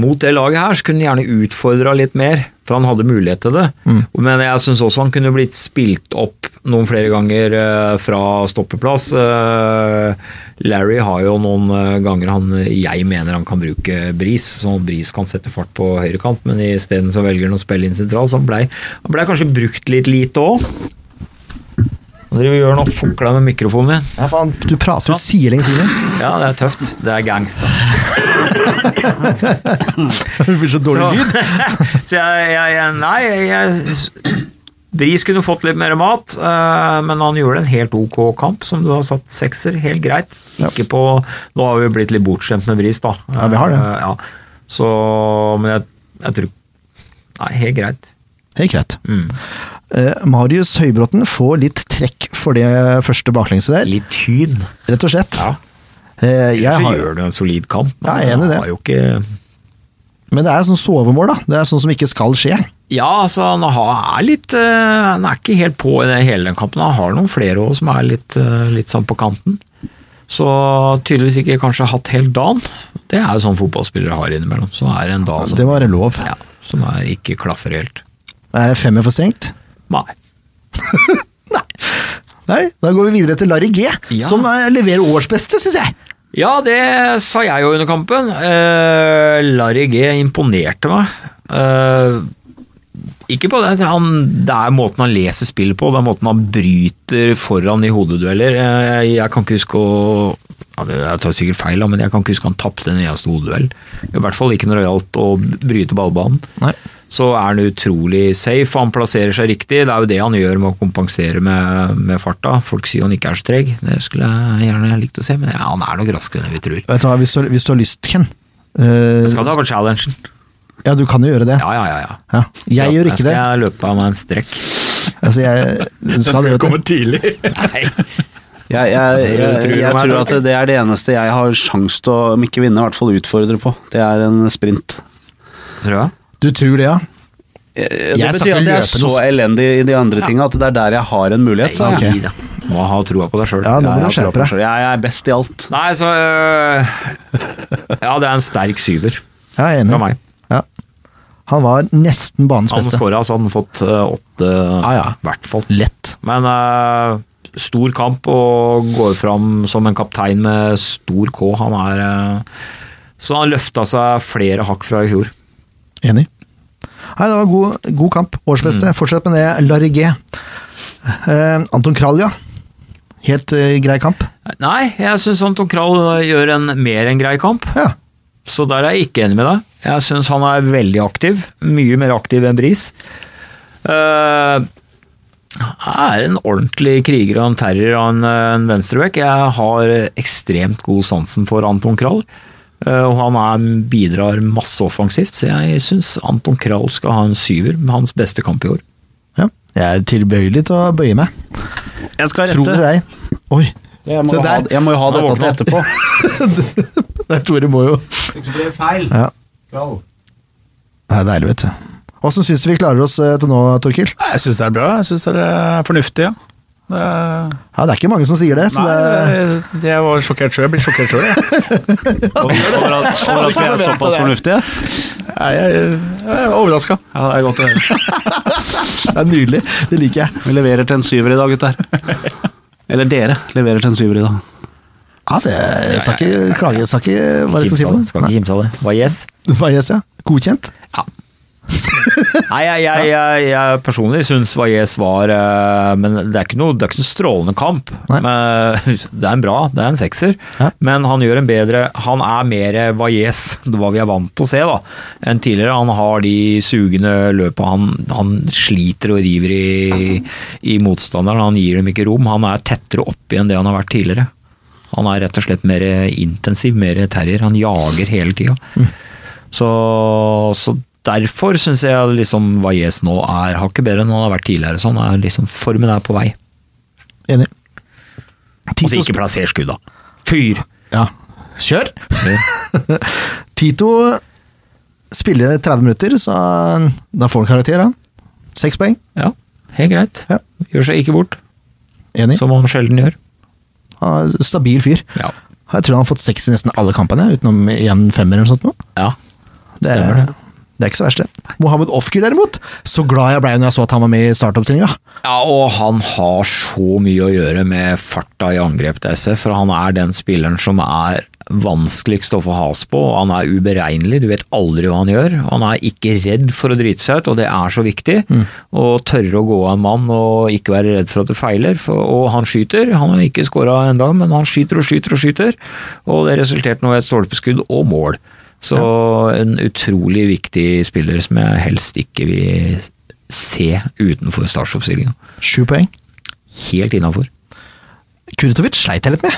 Mot det laget her så kunne han gjerne utfordra litt mer, for han hadde mulighet til det. Men jeg syns også han kunne blitt spilt opp noen flere ganger eh, fra stoppeplass. Eh, Larry har jo noen eh, ganger han jeg mener han kan bruke Bris, så Bris kan sette fart på høyrekant, men isteden så velger han å spille inn sentral, så han blei ble kanskje brukt litt lite òg. Hva driver du og gjør nå? Fukler med mikrofonen min.
ja faen, du prater jo sidelengs inn i den.
Ja, det er tøft. Det er gangsta.
Det blir så
Så,
dårlig lyd.
så jeg, jeg, jeg Nei, jeg Bris kunne fått litt mer mat, eh, men han gjorde en helt ok kamp, som du har satt sekser. Helt greit. Ikke på Nå har vi blitt litt bortskjemt med Bris, da.
Ja, vi har det.
Eh, ja. Så Men jeg, jeg tror Nei, helt greit.
Helt greit.
Mm.
Eh, Marius Høybråten får litt trekk for det første baklengset der,
Litt tyn.
rett og slett.
Ja.
Eh, jeg
Ellers så
har,
gjør du en solid kamp.
Ja, jeg er enig i det.
Han har jo ikke
men det er sånn sovemål, da. Det er sånn som ikke skal skje.
Ja, altså han har- er litt eh, Han er ikke helt på i det hele den kampen. Han har noen flere òg som er litt, eh, litt sånn på kanten. Så tydeligvis ikke kanskje hatt helt dagen. Det er jo sånn fotballspillere har innimellom. Så er det en dag som,
Det var lov.
ja, som er ikke klaffer helt.
Er det femmer for strengt?
Nei.
Nei, da går vi videre til Larry G,
Ja.
som eh, leverer årsbeste, syns jeg.
Ja, det sa jeg jo under kampen. Eh, Larry G imponerte meg. Eh, ikke på det, han, det er måten han leser spill på, det er måten han bryter foran i hodedueller. Eh, jeg kan ikke huske å ja, det- Jeg tar sikkert feil, da, men jeg kan ikke huske han tapte en eneste hodeduell. I hvert fall ikke når det gjaldt å bryte ballbanen.
Nei.
Så er han utrolig safe, og han plasserer seg riktig. Det er jo det han gjør med å kompensere med, med farta. Folk sier han ikke er så treg, det skulle jeg gjerne likt å se, men ja, han er nok raskere enn vi tror.
Vet du hva, hvis du, har- hvis du har lyst, Ken eh,
Skal ta på challengen.
Ja, du kan jo gjøre det.
Ja, ja, ja. ja.
Ja. Jeg gjør ikke
skal
det.
jeg løpe av meg en strekk.
Altså, jeg, du
Jeg
skal
tror
gjøre
jeg
det.
kommer tidlig.
Nei.
Jeg, jeg, jeg,
Tror du
jeg,
meg,
tror
Tom?
at det er det eneste jeg har sjans til å, om ikke vinne, i hvert fall utfordre på. Det er en sprint.
Tror jeg.
Du tror det, ja?
Eh,
Jeg
Det betyr
snakker
at jeg er
løpende
så
sp-
elendig i de andre tinga at det er der jeg har en mulighet, sa
Nei,
jeg.
ok.
gi det. Må ha troa på deg sjøl.
Ja, nå må
Jeg
du
har
skjerpe
troa på meg
deg.
selv. Jeg jeg er best i alt.
Nei, så øh, Ja, det er en sterk syver
Ja, jeg er
fra
enig.
meg.
Ja. Han var nesten banens
Hadde
beste.
skåra, så hadde han fått øh, åtte, i
Ja, ja.
hvert fall.
Lett.
Men øh, stor kamp og går fram som en kaptein med stor K. Han er øh, Så han løfta seg flere hakk fra i fjor.
Enig. Nei, det var god, god kamp. Årsbeste. Fortsett med det. Larry G. Eh, Anton Kralja. Helt eh, grei kamp.
Nei, jeg syns Anton Krall eh, gjør en mer enn grei kamp.
Ja.
Så der er jeg ikke enig med deg. Jeg syns han er veldig aktiv. Mye mer aktiv enn Bris. Eh, er en ordentlig kriger og en terror av en, eh, en venstreback. Jeg har ekstremt god sansen for Anton Krall. eh, Og han er, bidrar masse offensivt, så jeg syns Anton Krall skal ha en syver. med Hans beste kamp i år.
ja. Jeg er tilbøyelig til å bøye meg.
Jeg skal
Tror
rette.
dere ei. Oi.
Jeg må,
Se
jo ha,
der.
jeg må jo ha
Nå
dette til
våkner
etterpå.
Det er Tore må jo
feil.
Ja. Det er deilig, vet du. Åssen syns du vi klarer oss eh, til nå, Torkil?
Nei, Jeg syns det er bra. Jeg syns det er fornuftig, ja. Det er,
Ja, det er ikke mange som sier det, så
nei,
det
det, det var sjokkert sjøl. Jeg blir sjokkert sjøl, jeg.
Over over at, over at vi er såpass fornuftige.
Nei, Jeg jeg er overraska.
Ja, det er godt å høre.
det er nydelig. Det liker jeg.
Vi leverer til en syver i dag, gutter. Eller dere leverer til en syver i dag.
Ja, det jeg skal ikke klage. Skal ikke Hva er det jeg skal si
Kimse av
for
det, Skal
noe?
ikke kimse av det. Hva yes?
Nei, Hva yes, ja. Godkjent?
Ja. Nei, jeg, jeg, jeg, jeg personlig syns Valles var eh, Men det er ikke noe, det er ikke noe strålende kamp.
Nei.
Men, eh, det er en bra, det er en sekser.
Ja.
Men han gjør en bedre Han er mer Valles, det var vi er vant til å se, da, enn tidligere. Han har de sugende løpa. Han, han sliter og river i, i motstanderen. Han gir dem ikke rom. Han er tettere oppi enn det han har vært tidligere. Han er rett og slett mer intensiv, mer terrier. Han jager hele tida.
Mm.
Så, så derfor syns jeg liksom Valles nå er hakket bedre enn han har vært tidligere. Så han er liksom, formen er på vei.
Enig.
Altså
Tito
ikke plasser skudda. Fyr!
Ja. Kjør! Tito spiller 30 minutter, så han- da får han karakter, han. Seks poeng.
Ja, helt greit.
Ja.
Gjør seg ikke bort,
Enig.
som han sjelden gjør.
Han er en stabil fyr.
Ja.
Jeg tror han har fått seks i nesten alle kampene, utenom én femmer eller noe sånt. nå.
ja.
Det
Stemmer
er, det er ikke så verst, det. Mohammed Ofker, derimot, så glad jeg ble når jeg så at han var med i startoppstillinga.
Ja, og han har så mye å gjøre med farta i angrep til SF, for han er den spilleren som er vanskeligst å få has på. og Han er uberegnelig, du vet aldri hva han gjør. og Han er ikke redd for å drite seg ut, og det er så viktig. Å tørre å gå av en mann og ikke være redd for at det feiler. For, og han skyter, han har ikke skåra ennå, men han skyter og skyter og skyter. Og det resulterte nå i et stolpeskudd og mål. Så en utrolig viktig spiller som jeg helst ikke vil se utenfor startsoppstillinga.
Sju poeng.
Helt innafor.
Kurtovic sleit jeg litt med.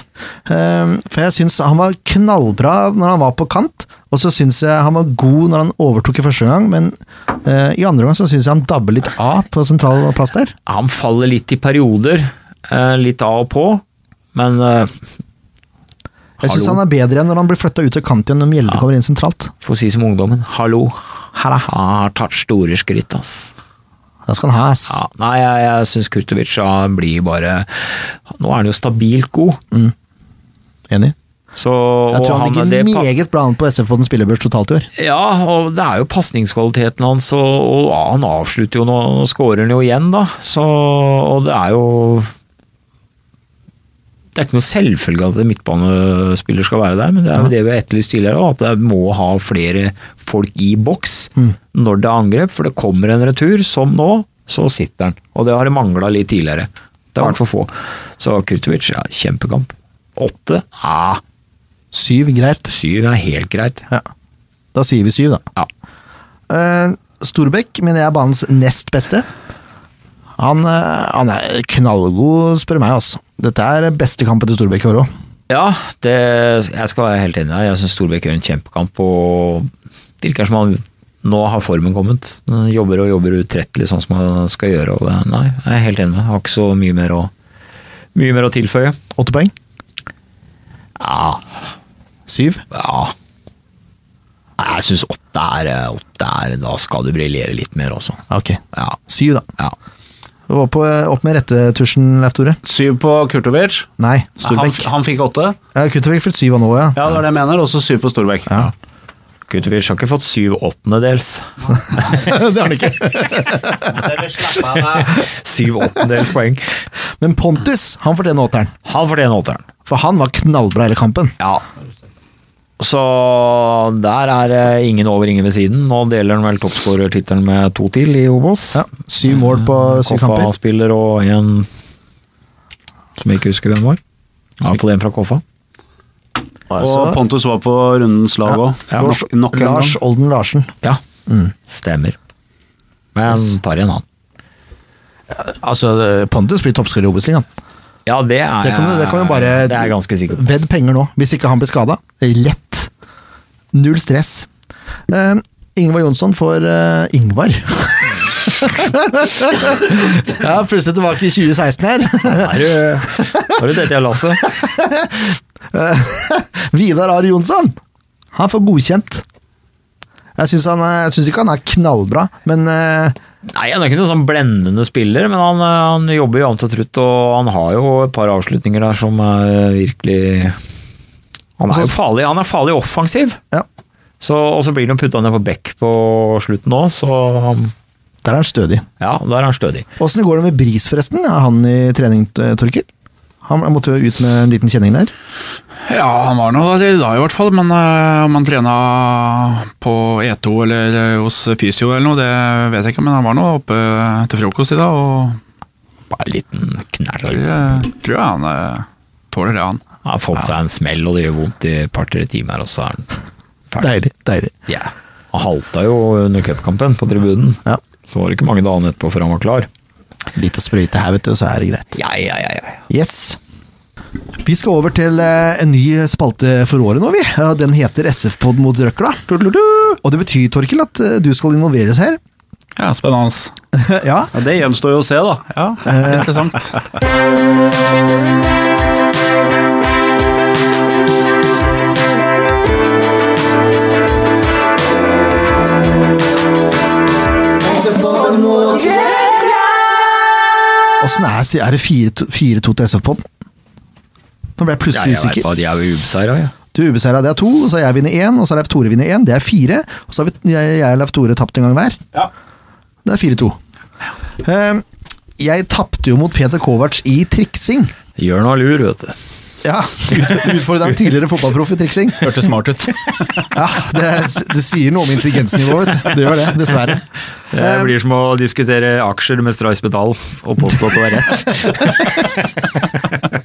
Ehm, For jeg syns han var knallbra når han var på kant, og så syns jeg han var god når han overtok i første gang, men eh, i andre gang så syns jeg han dabber litt av på sentral plass der.
Han faller litt i perioder, eh, litt av og på, men eh,
Jeg syns
Hallo.
han er bedre enn når han blir flytta ut av kant igjen når Mjelde kommer inn sentralt.
for å si som ungdommen, hallo, han har tatt store skritt, ass.
Da skal han ha ass.
Ja, nei, jeg, jeg syns Kurtovic han blir bare Nå er han jo stabilt god,
Enig.
så
Jeg tror han ligger
det pa-
meget bra an på SF på den spillebørs totalt i år.
Ja, og det er jo pasningskvaliteten hans, og, og ja, han avslutter jo nå, nå skårer han jo igjen, da. Så, og det er jo Det er ikke noe selvfølge at en midtbanespiller skal være der, men det er jo det vi har etterlyst tidligere òg, at det må ha flere folk i boks når det er angrep, for det kommer en retur, som nå, så sitter han. Og det har det mangla litt tidligere. Det har vært for få. Så Kurtovic, ja, kjempekamp. Åtte? Ja,
Syv, greit.
syv er helt greit.
Ja. Da sier vi syv, da.
Ja.
Eh, Storbekk mener jeg er banens nest beste. Han, eh, han er knallgod, spør du meg. altså. Dette er beste kampen til Storbekk i år òg.
Ja, det, jeg skal være helt enig med deg. Jeg syns Storbekk gjør en kjempekamp. og Virker som han nå har formen kommet. Han Jobber og jobber utrettelig sånn som han skal gjøre. Og det, nei, jeg er helt enig med deg. Har ikke så mye mer å, mye mer å tilføye.
Åtte poeng.
Ja,
Syv.
ja. Nei, Jeg syns åtte er eh, åtte er Da skal du briljere litt mer også.
Ok,
Ja.
syv, da.
ja.
Og opp, eh, opp med rettetusjen, Leif Tore.
Syv på Kurtovic.
Nei,
Han,
Storbekk.
han fikk åtte.
Ja, Kutovic fikk syv av nå, ja.
Ja, det var det jeg mener. Og så syv på Storbekk.
ja.
Kutovic har ikke fått syv åttendedels.
det har han ikke.
Syv åttendedels poeng.
Men Pontus han fortjener åtteren,
Han fortjener åtteren.
for han var knallbra hele kampen.
Ja. Så der er det ingen over, ingen ved siden. Nå deler han vel toppskårertittelen med to til i Obos.
Ja, Syv mål på syv kamper.
Koffa-spiller og en som jeg ikke husker hvem var. Ja, Iallfall en fra Koffa.
Og Pontus var på rundens lag òg.
Ja,
Lars,
altså, nok, nok en gang.
Lars Olden Larsen.
Ja, stemmer. Mm. Men tar igjen han.
Altså, Pontus blir toppskårer i Obos-ligaen.
Ja, det er
Det kan du- det kan du bare-
Det er jeg ganske sikker på.
Vedd penger nå, hvis ikke han blir skada. Lett. Null stress. Eh, Ingvar Jonsson får eh, Ingvar. ja, plutselig tilbake i 2016 her.
Er du, har du dette jeg Lasse?
Eh, Vidar Ari Jonsson! Han får godkjent. Jeg syns ikke han er knallbra, men eh,
Nei, han er ikke noen sånn blendende spiller, men han, eh, han jobber jo jevnt og trutt, og han har jo et par avslutninger der som er virkelig Han er jo farlig, han er farlig offensiv,
ja,
så, og så blir han putta ned på bekk på slutten òg, så um,
der er han stødig.
ja, der er han stødig.
Åssen går det med Bris, forresten? Er han i trening, eh, Torkil? Han måtte jo ut med en liten kjenning der.
Ja, han var nå der i dag i hvert fall, men eh, om han trena på E2 eller eh, hos fysio eller noe, det vet jeg ikke, men han var nå oppe til frokost i dag, og
Bare en liten knall.
jeg tror jeg han eh, tåler det, han.
Han har fått seg en smell, og det gjør vondt i et par-tre timer, og så er han ferdig.
Deilig. deilig.
Ja. Han halta jo under cupkampen på tribunen.
Ja.
Så var det ikke mange dagene etterpå før han var klar.
Lite sprøyte her, vet du, så er det greit.
Ja, ja, ja, ja.
Yes. Vi skal over til eh, en ny spalte for året nå, vi. Ja, Den heter SF-pod mot røkla. Og det betyr, Torkil, at eh, du skal involveres her.
Ja, spennende.
ja.
Ja, det gjenstår jo å se, da.
Ja, interessant.
Åssen er sti- Er det 4-2 4-2 til SF-pod? Nå ble jeg
Ja,
plutselig
jeg vet
usikker.
hva, de er jo ubeseira, ja.
Du ubeseira, det er to. og Så har jeg vunnet én, og så har Leif Tore vunnet én. Det er fire. Og så har vi, jeg, jeg og Leif Tore tapt en gang hver.
Ja.
Det er 4-2. Eh, jeg tapte jo mot Peter Kovac i triksing.
Gjør noe lur, vet du.
Ja, utf- Utfordra en tidligere fotballproff i triksing.
Hørtes smart ut.
Ja, det, det sier noe om intelligensnivået, vet du. Det gjør det, dessverre.
Det Eh, blir som å diskutere aksjer med Stray Spedal og påstå at det var rett.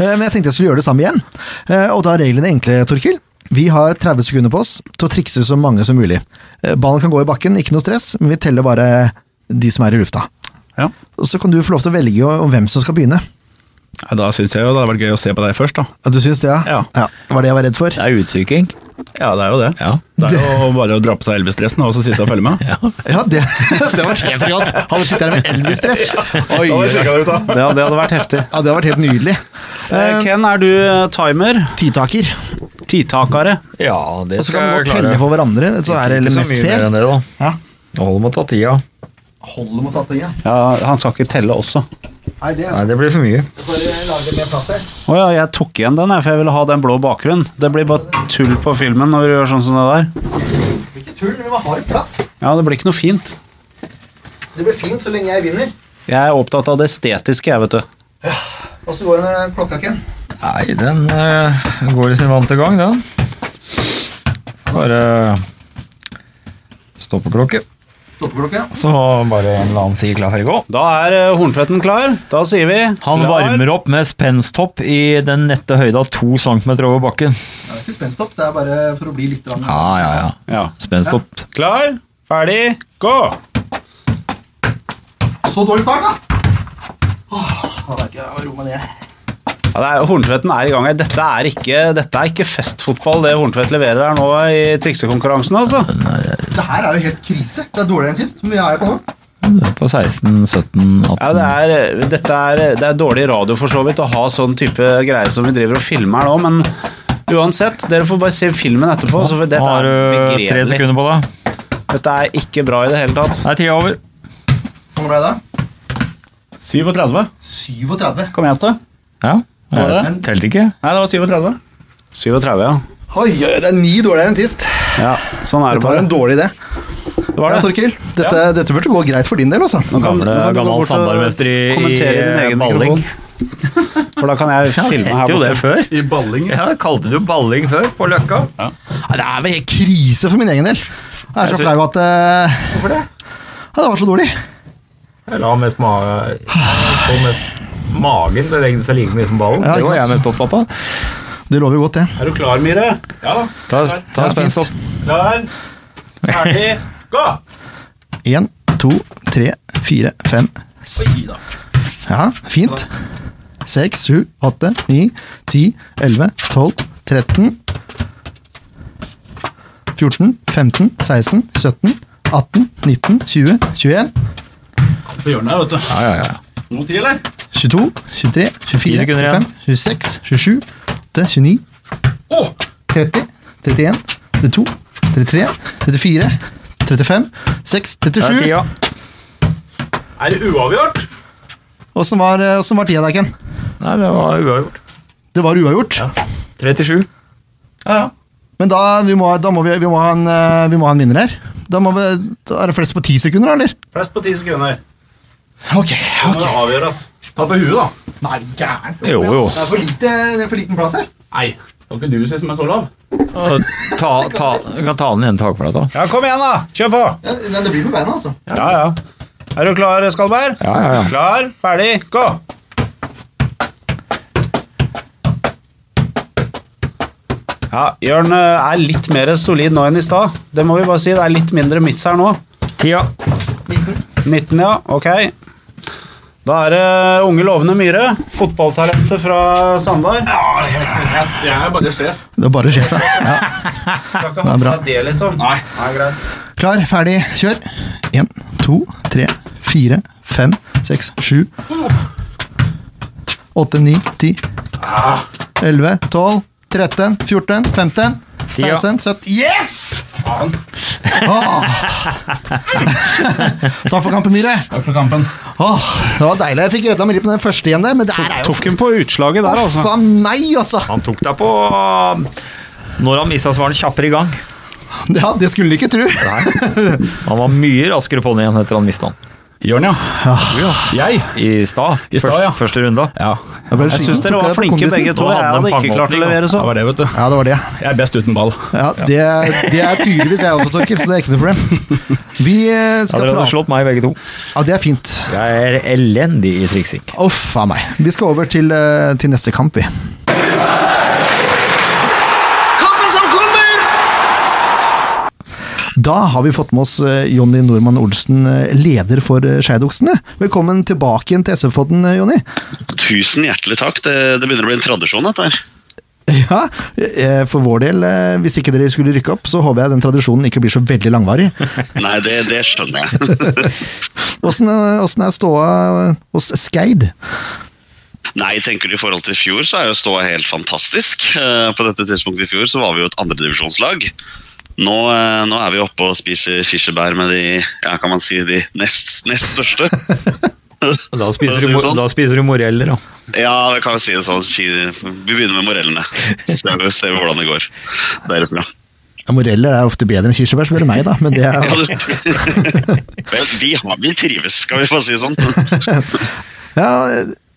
Eh, Men jeg tenkte jeg skulle gjøre det samme igjen. Eh, Og da er reglene enkle, Torkil. Vi har 30 sekunder på oss til å trikse så mange som mulig. Eh, Ballen kan gå i bakken, ikke noe stress, men vi teller bare de som er i lufta.
Ja.
Og så kan du få lov til å velge om hvem som skal begynne.
Nei, Da syns jeg jo det hadde vært gøy å se på deg først, da.
Ja, Du syns det, ja?
Ja.
Det var det jeg var redd for.
Det er utsyking.
Ja, det er jo det.
Ja.
Det er jo bare å dra på seg Elvis-dressen og så sitte og følge med.
Ja, det, det var kjempegodt. Han sitter her med Elvis-stress. Oi,
Det, det hadde vært heftig.
Ja, det har vært helt nydelig.
Eh, Ken, er du eh, timer?
Titaker.
Titakere?
ja, det
Og så kan vi godt telle for hverandre, så er det mest fair.
enn det, da.
Ja.
Det holder med å ta tida.
Holder mot attingen.
Ja, han skal ikke telle også.
Nei, det
Nei, det blir for mye.
Bare lage mer plass her.
Å ja, jeg tok igjen den, jeg, for jeg ville ha den blå bakgrunnen. Det blir bare tull på filmen når du gjør sånn som det der.
Ikke tull, men vi har plass.
Ja, det blir ikke noe fint.
Det blir fint så lenge jeg vinner.
Jeg er opptatt av det estetiske, jeg, vet du.
Åssen går det med klokka, Ken?
Nei, den eh, går i sin vante gang, den. Så bare stoppeklokke.
Stoppeklokke?
Så bare en eller annen sier klar, ferdig, gå.
Da er eh, Horntvedten klar. Da sier vi
Han varmer opp med spensthopp i den nette høyda to centimeter over bakken.
Det er ikke spensthopp, det er bare for å bli litt grann-
Ja, ja, ja.
Ja.
Spensthopp.
Klar, ferdig, gå!
Så dårlig sang, da! Åh, da merker jeg å roe meg ned.
Ja, det er, Horntvedten er i gang. her. Dette er ikke, dette er ikke festfotball, det Horntvedt leverer her nå i triksekonkurransen, altså.
Det her er jo helt krise. Det er dårligere enn sist. Hvor mye er jeg på nå?
På 16, 17, 18
Ja, det er, dette er, det er dårlig radio for så vidt å ha sånn type greier som vi driver og filmer her nå, men uansett, dere får bare se filmen etterpå. Så for dette
Har
er
du tre
begredelig.
sekunder på deg?
Dette er ikke bra i det hele tatt.
Nei, tida er over.
Hvor ble jeg da?
37.
37.
Kom igjen til.
Ja.
Var det?
jeg Telte ikke.
Nei, det var 37. 37, ja.
Oi, oi, det er ni dårligere enn sist.
ja. Sånn er det
Dette var
bare.
en dårlig idé.
Det var
Ja,
det.
Torkil, dette, dette burde gå greit for din del, altså.
Nå kan-
Gamle,
nå kan du gå
gammel
bort og
sandarmester i,
kommentere din
i
egen
balling.
mikrofon. eh, For da kan jeg
Ja, det
filme her
het jo det
borte.
før.
I balling.
Ja, Kalte du balling før, på Løkka?
Nei, Det er vel helt krise for min egen del. Jeg er
Jeg
så
sy-
flau at eh,
Hvorfor det?
ja, Det var så dårlig.
Jeg la mest mage så mest Magen bevegde seg like mye som ballen.
Ja,
det
ikke
var jeg
sant?
mest opptatt av.
Det lover jo godt, det.
Er du klar, Myhre? Ja.
Ta, ta
Ja, fint.
spenstopp.
Klar, ferdig, gå!
Én, to, tre, fire, fem s- Ja, fint. Seks, sju, åtte, ni, ti, elleve, tolv, tretten 14, 15, 16, 17, 18, 19, 20, 21,
På hjørnet, vet du.
Ja, ja, ja.
Noe tid, eller?
22, 23, 24,
sekunder igjen.
25, 26, 27, 8, 29
Åh!
30, 31, 32, 33, 34, 35, 6,
Det er
37.
tida.
Er det uavgjort?
Åssen var, eh, åssen var tida der, Ken?
Nei, det var uavgjort.
Det var uavgjort.
37.
Ja, ja.
Men da, vi må, da må vi, vi, må ha en, eh, vi må ha en vinner her. Da, må vi, da er det flest på ti sekunder, eller?
Flest på ti sekunder.
Ok.
Nå må det avgjøres. Ta på huet, da.
Nei, gæren.
Jo, jo.
Det er for, lite, det er for liten plass her.
Nei, det var ikke du som er så lav.
Ta, ta, du kan ta den igjen takplata.
Ja, kom igjen, da. Kjør på.
Ja, men det blir på beina, altså.
Ja, ja. Er du klar, Skalberg?
Ja, ja, ja.
Klar, ferdig, gå! Ja, Jørn eh, er litt mer solid nå enn i stad. Det må vi bare si. Det er litt mindre miss her nå.
Tida.
19, ja. Ok. Da er det unge, lovende Myhre. Fotballtalentet fra Sandar.
Jeg er bare sjef.
Det er bare sjefen. Ja.
Skal ikke
det er bra.
ha det, liksom. Nei. Nei, greit.
Klar, ferdig, kjør. Én, to, tre, fire, fem, seks, sju. Åtte, ni, ti. Elleve, tolv, 13, 14, 15, 16, 17 Yes! Åh. Takk for kampen, Myhre.
Takk for kampen.
Åh, det var deilig. Jeg fikk redda meg litt på den første igjen, der, men det her er jo
Tok den på utslaget der,
Uff
altså.
a meg, altså!
Han tok deg på når han mista svaren kjappere i gang.
Ja, det skulle du ikke tro.
Han var mye raskere på den igjen etter han mista den.
Jørn, ja. Jeg?
I stad.
I stad,
Første-
ja.
Første runda.
Ja.
Jeg syns dere var flinke begge to.
Nå
Jeg
hadde de
hadde ikke klart å
pangåpning, da.
levere
Det
så.
var det, vet du.
Ja, det var det.
Jeg er best uten ball.
Ja, det, det er tydeligvis jeg også, Torkil, så det er ikke noe problem. Vi eh,
Ja,
skal
dere hadde
prate
slått meg begge to.
Ja, det er fint.
Jeg er elendig i triksing.
Uff a meg. Vi skal over til, eh, til neste kamp, vi.
Kampen som kommer!
Da har vi fått med oss eh, Jonny Normann Olsen, eh, leder for eh, Skeidoksene. Velkommen tilbake igjen til SF-podden, eh, Jonny.
Tusen hjertelig takk. Det, det begynner å bli en tradisjon, dette her.
Ja, eh, for vår del, eh, hvis ikke dere skulle rykke opp, så håper jeg den tradisjonen ikke blir så veldig langvarig.
Nei, det, det skjønner jeg.
Åssen eh, åssen er ståa hos Skeid?
Nei, tenker du i forhold til i fjor, så er jo ståa helt fantastisk. Eh, På dette tidspunktet i fjor så var vi jo et andredivisjonslag. Nå, eh, nå er vi oppe og spiser kirsebær med de ja, kan man si, de nest, nest største.
Da
spiser du mo- da
moreller, da.
Ja, vi kan jo si det sånn. ki- Vi begynner med morellene. Så ser vi, ser vi hvordan det går derifra.
Ja, Moreller er ofte bedre enn kirsebær, spør du meg, da. Men det er,
Ja, du... Vel, vi, har, vi trives, skal vi bare si det sånn.
Ja,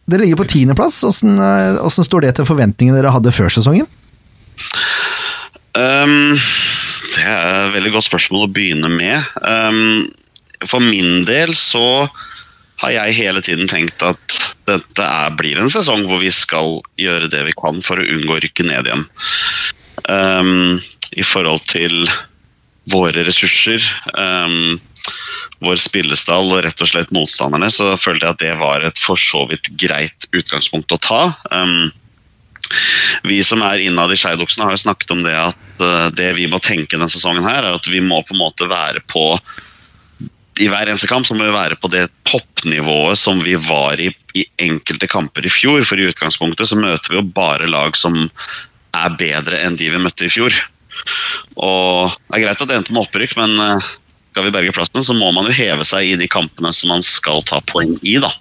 Dere ligger på tiendeplass. Åssen eh, åssen står det til forventningene dere hadde før sesongen?
Ehm, det er et veldig godt spørsmål å begynne med. Ehm, for min del så har jeg hele tiden tenkt at dette er, blir en sesong hvor vi skal gjøre det vi kan for å unngå å rykke ned igjen. Ehm, I forhold til våre ressurser, ehm, vår spillestall og rett og slett motstanderne, så følte jeg at det var et for så vidt greit utgangspunkt å ta. Ehm, vi som er innad i Skeidoksene har jo snakket om det at eh, det vi må tenke denne sesongen her, er at vi må på en måte være på i hver eneste kamp så må vi være på det toppnivået som vi var i i enkelte kamper i fjor. For i utgangspunktet så møter vi jo bare lag som er bedre enn de vi møtte i fjor. Og Det er greit at det endte med opprykk, men eh, skal vi berge plassen, så må man jo heve seg i de kampene som man skal ta poeng i. da.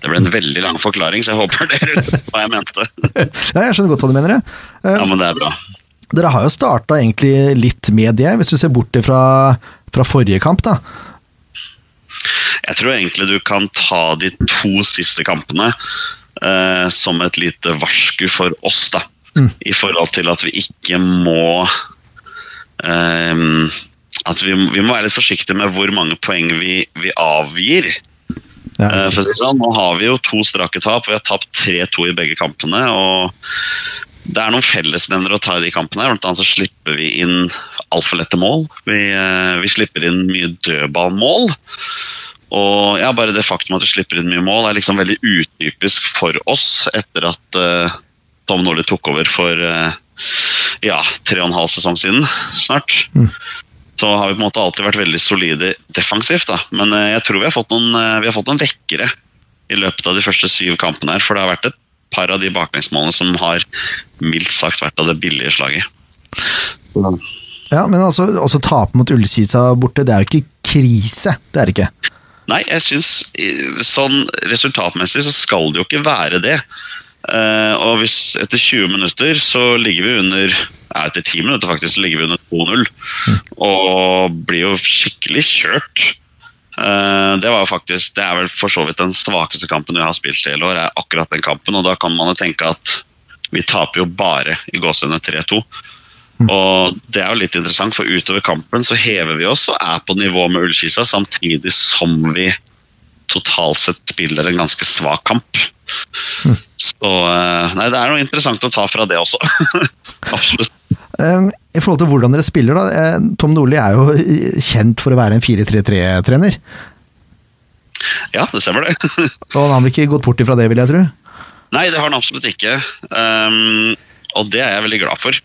Det ble en veldig lang forklaring, så jeg håper dere vet hva jeg mente.
Ja, jeg skjønner godt hva du mener. jeg. Eh,
Ja, men det er bra.
Dere har jo starta egentlig litt med det, hvis du ser bort fra, fra forrige kamp. da.
Jeg tror egentlig du kan ta de to siste kampene eh, som et lite varsku for oss, da. I forhold til at vi ikke må ehm, At vi, vi må være litt forsiktige med hvor mange poeng vi, vi avgir.
Ja.
Eh, for å si det sånn, nå har vi jo to strake tap, vi har tapt 3-2 i begge kampene. og Det er noen fellesnevnere å ta i de kampene. Blant annet så slipper vi inn altfor lette mål. Vi, eh, vi slipper inn mye dødballmål. Og ja, Bare det faktum at vi slipper inn mye mål, er liksom veldig utypisk for oss etter at eh, Tom Nordli tok over for eh, ja, tre og en halv sesong siden snart så har vi på en måte alltid vært veldig solide defensivt. da. Men eh, jeg tror vi har fått noen, eh, vi har fått noen vekkere i løpet av de første syv kampene. her, For det har vært et par av de baklengsmålene som har mildt sagt vært av det billige slaget.
Ja, Men altså, også tape mot Ullkisa borte, det er jo ikke krise. Det er det ikke.
Nei, jeg syns eh, sånn resultatmessig så skal det jo ikke være det. Eh, og hvis etter 20 minutter så ligger vi under ja, etter 10 minutter faktisk så ligger vi under 2-0 og blir jo skikkelig kjørt. Eh, det var jo faktisk, det er vel for så vidt den svakeste kampen vi har spilt i hele år, er akkurat den kampen. Og da kan man jo tenke at vi taper jo bare i gåsehudene 3-2. Og det er jo litt interessant, for utover kampen så hever vi oss og er på nivå med Ullkisa, samtidig som vi totalt sett spiller en ganske svak kamp. Så eh, Nei, det er noe interessant å ta fra det også. Absolutt.
Eh, I forhold til hvordan dere spiller, da. eh, Tom Nordli er jo eh, kjent for å være en 4-3-3-trener.
Ja, det stemmer det.
Og han har vel ikke gått bort ifra det, vil jeg tro.
Nei, det har han absolutt ikke. Ehm, og det er jeg veldig glad for.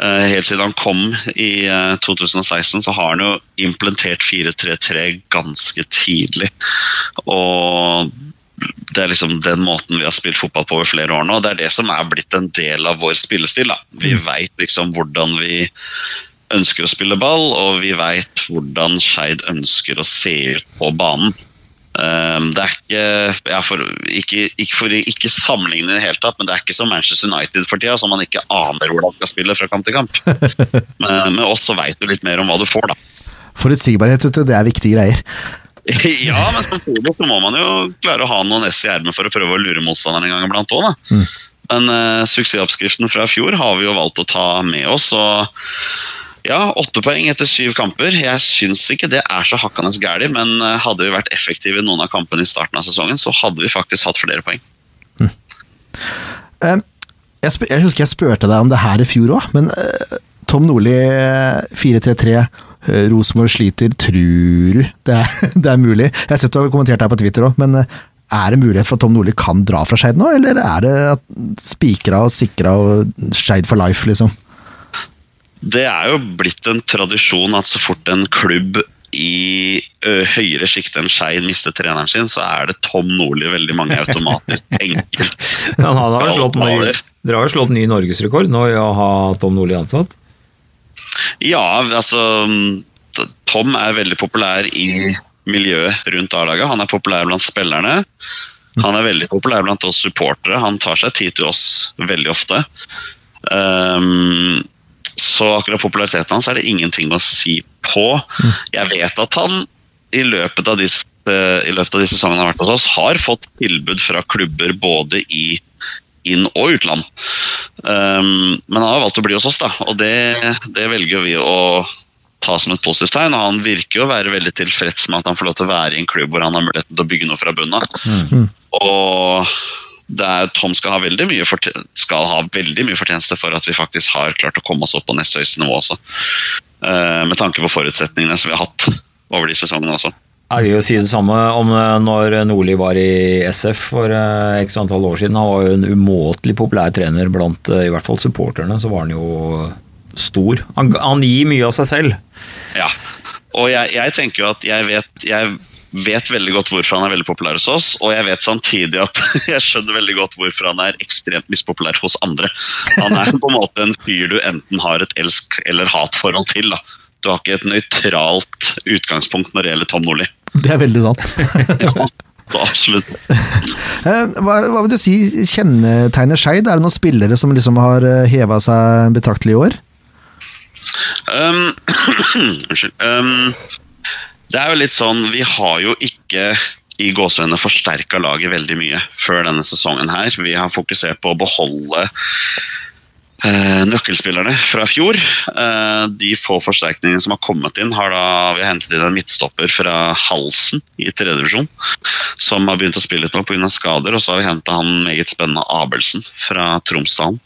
Eh, helt siden han kom i eh, 2016, så har han jo implementert 4-3-3 ganske tidlig. Og det er liksom den måten vi har spilt fotball på over flere år nå. Det er det som er blitt en del av vår spillestil. Da. Vi veit liksom hvordan vi ønsker å spille ball, og vi veit hvordan Skeid ønsker å se ut på banen. Ehm, det er ikke, ja, for, ikke, ikke for ikke sammenligne i det hele tatt, men det er ikke som Manchester United for tida, som man ikke aner hvordan skal spille fra kamp til kamp. Men med oss så veit du litt mer om hva du får, da.
Forutsigbarhet, vet du, det er viktige greier.
ja, men samtidig så må man jo klare å ha noen ess i ermet for å prøve å lure motstanderen en gang iblant òg, da. Men eh, suksessoppskriften fra fjor har vi jo valgt å ta med oss. og ja, åtte poeng etter syv kamper. Jeg syns ikke det er så hakkende gærent, men eh, hadde vi vært effektive i noen av kampene i starten av sesongen, så hadde vi faktisk hatt flere poeng.
Eh, Jeg, sp jeg husker jeg spurte deg om det her i fjor òg, men eh, Tom Nordli eh, 4-3-3, eh, Rosenborg sliter, tror du det er, det er mulig? Jeg har sett du har kommentert det her på Twitter òg, men eh, er det mulighet for at Tom Nordli kan dra fra Skeid nå, eller er det at spikra og sikra og Skeid for life, liksom?
Det er jo blitt en tradisjon at så fort en klubb i ø, høyere sjikt enn Skeid mister treneren sin, så er det Tom Nordli veldig mange automatisk enkelt.
Men han har jo slått, ny,
Galler.
dere har jo slått ny norgesrekord nå i å ha Tom Nordli ansatt.
Ja, altså t- Tom er veldig populær i miljøet rundt A-laget. Han er populær blant spillerne. Han er veldig populær blant oss supportere. Han tar seg tid til oss veldig ofte. Ehm, så akkurat populariteten hans er det ingenting å si på. Jeg vet at han i løpet av de s- eh, i løpet av de sesongene han har vært hos oss, har fått tilbud fra klubber både i inn- og utland. Um, men han har valgt å bli hos oss, da, og det, det velger jo vi å ta som et positivt tegn. og Han virker jo å være veldig tilfreds med at han får lov til å være i en klubb hvor han har muligheten til å bygge noe fra bunnen av. Og det er, Tom skal ha, veldig mye fortje- skal ha veldig mye fortjeneste for at vi faktisk har klart å komme oss opp på nest høyeste nivå også. Eh, med tanke på forutsetningene som vi har hatt over de sesongene også.
Jeg vil jo si det samme om eh, når Nordli var i SF for eh, x antall år siden. Han var jo en umåtelig populær trener blant eh, i hvert fall supporterne, så var han jo stor. Han, han gir mye av seg selv.
Ja. Og jeg, jeg tenker jo at jeg vet, jeg vet veldig godt hvorfor han er veldig populær hos oss, og jeg vet samtidig at jeg skjønner veldig godt hvorfor han er ekstremt mispopulær hos andre. Han er på en måte en fyr du enten har et elsk- eller hatforhold til. da. Du har ikke et nøytralt utgangspunkt når det gjelder Tom Nordli.
Det er veldig sant.
Så Absolutt.
Eh, Hva, hva vil du si kjennetegner Skeid? Er det noen spillere som liksom har heva seg betraktelig i år?
Um, unnskyld. Um, det er jo litt sånn Vi har jo ikke i gåsehudene forsterka laget veldig mye før denne sesongen her. Vi har fokusert på å beholde eh, nøkkelspillerne fra fjor. Eh, de få forsterkningene som har kommet inn, har da vi har hentet inn en midtstopper fra Halsen i tredje divisjon, som har begynt å spille litt nå pga. skader. Og så har vi henta han meget spennende Abelsen fra Tromsdalen.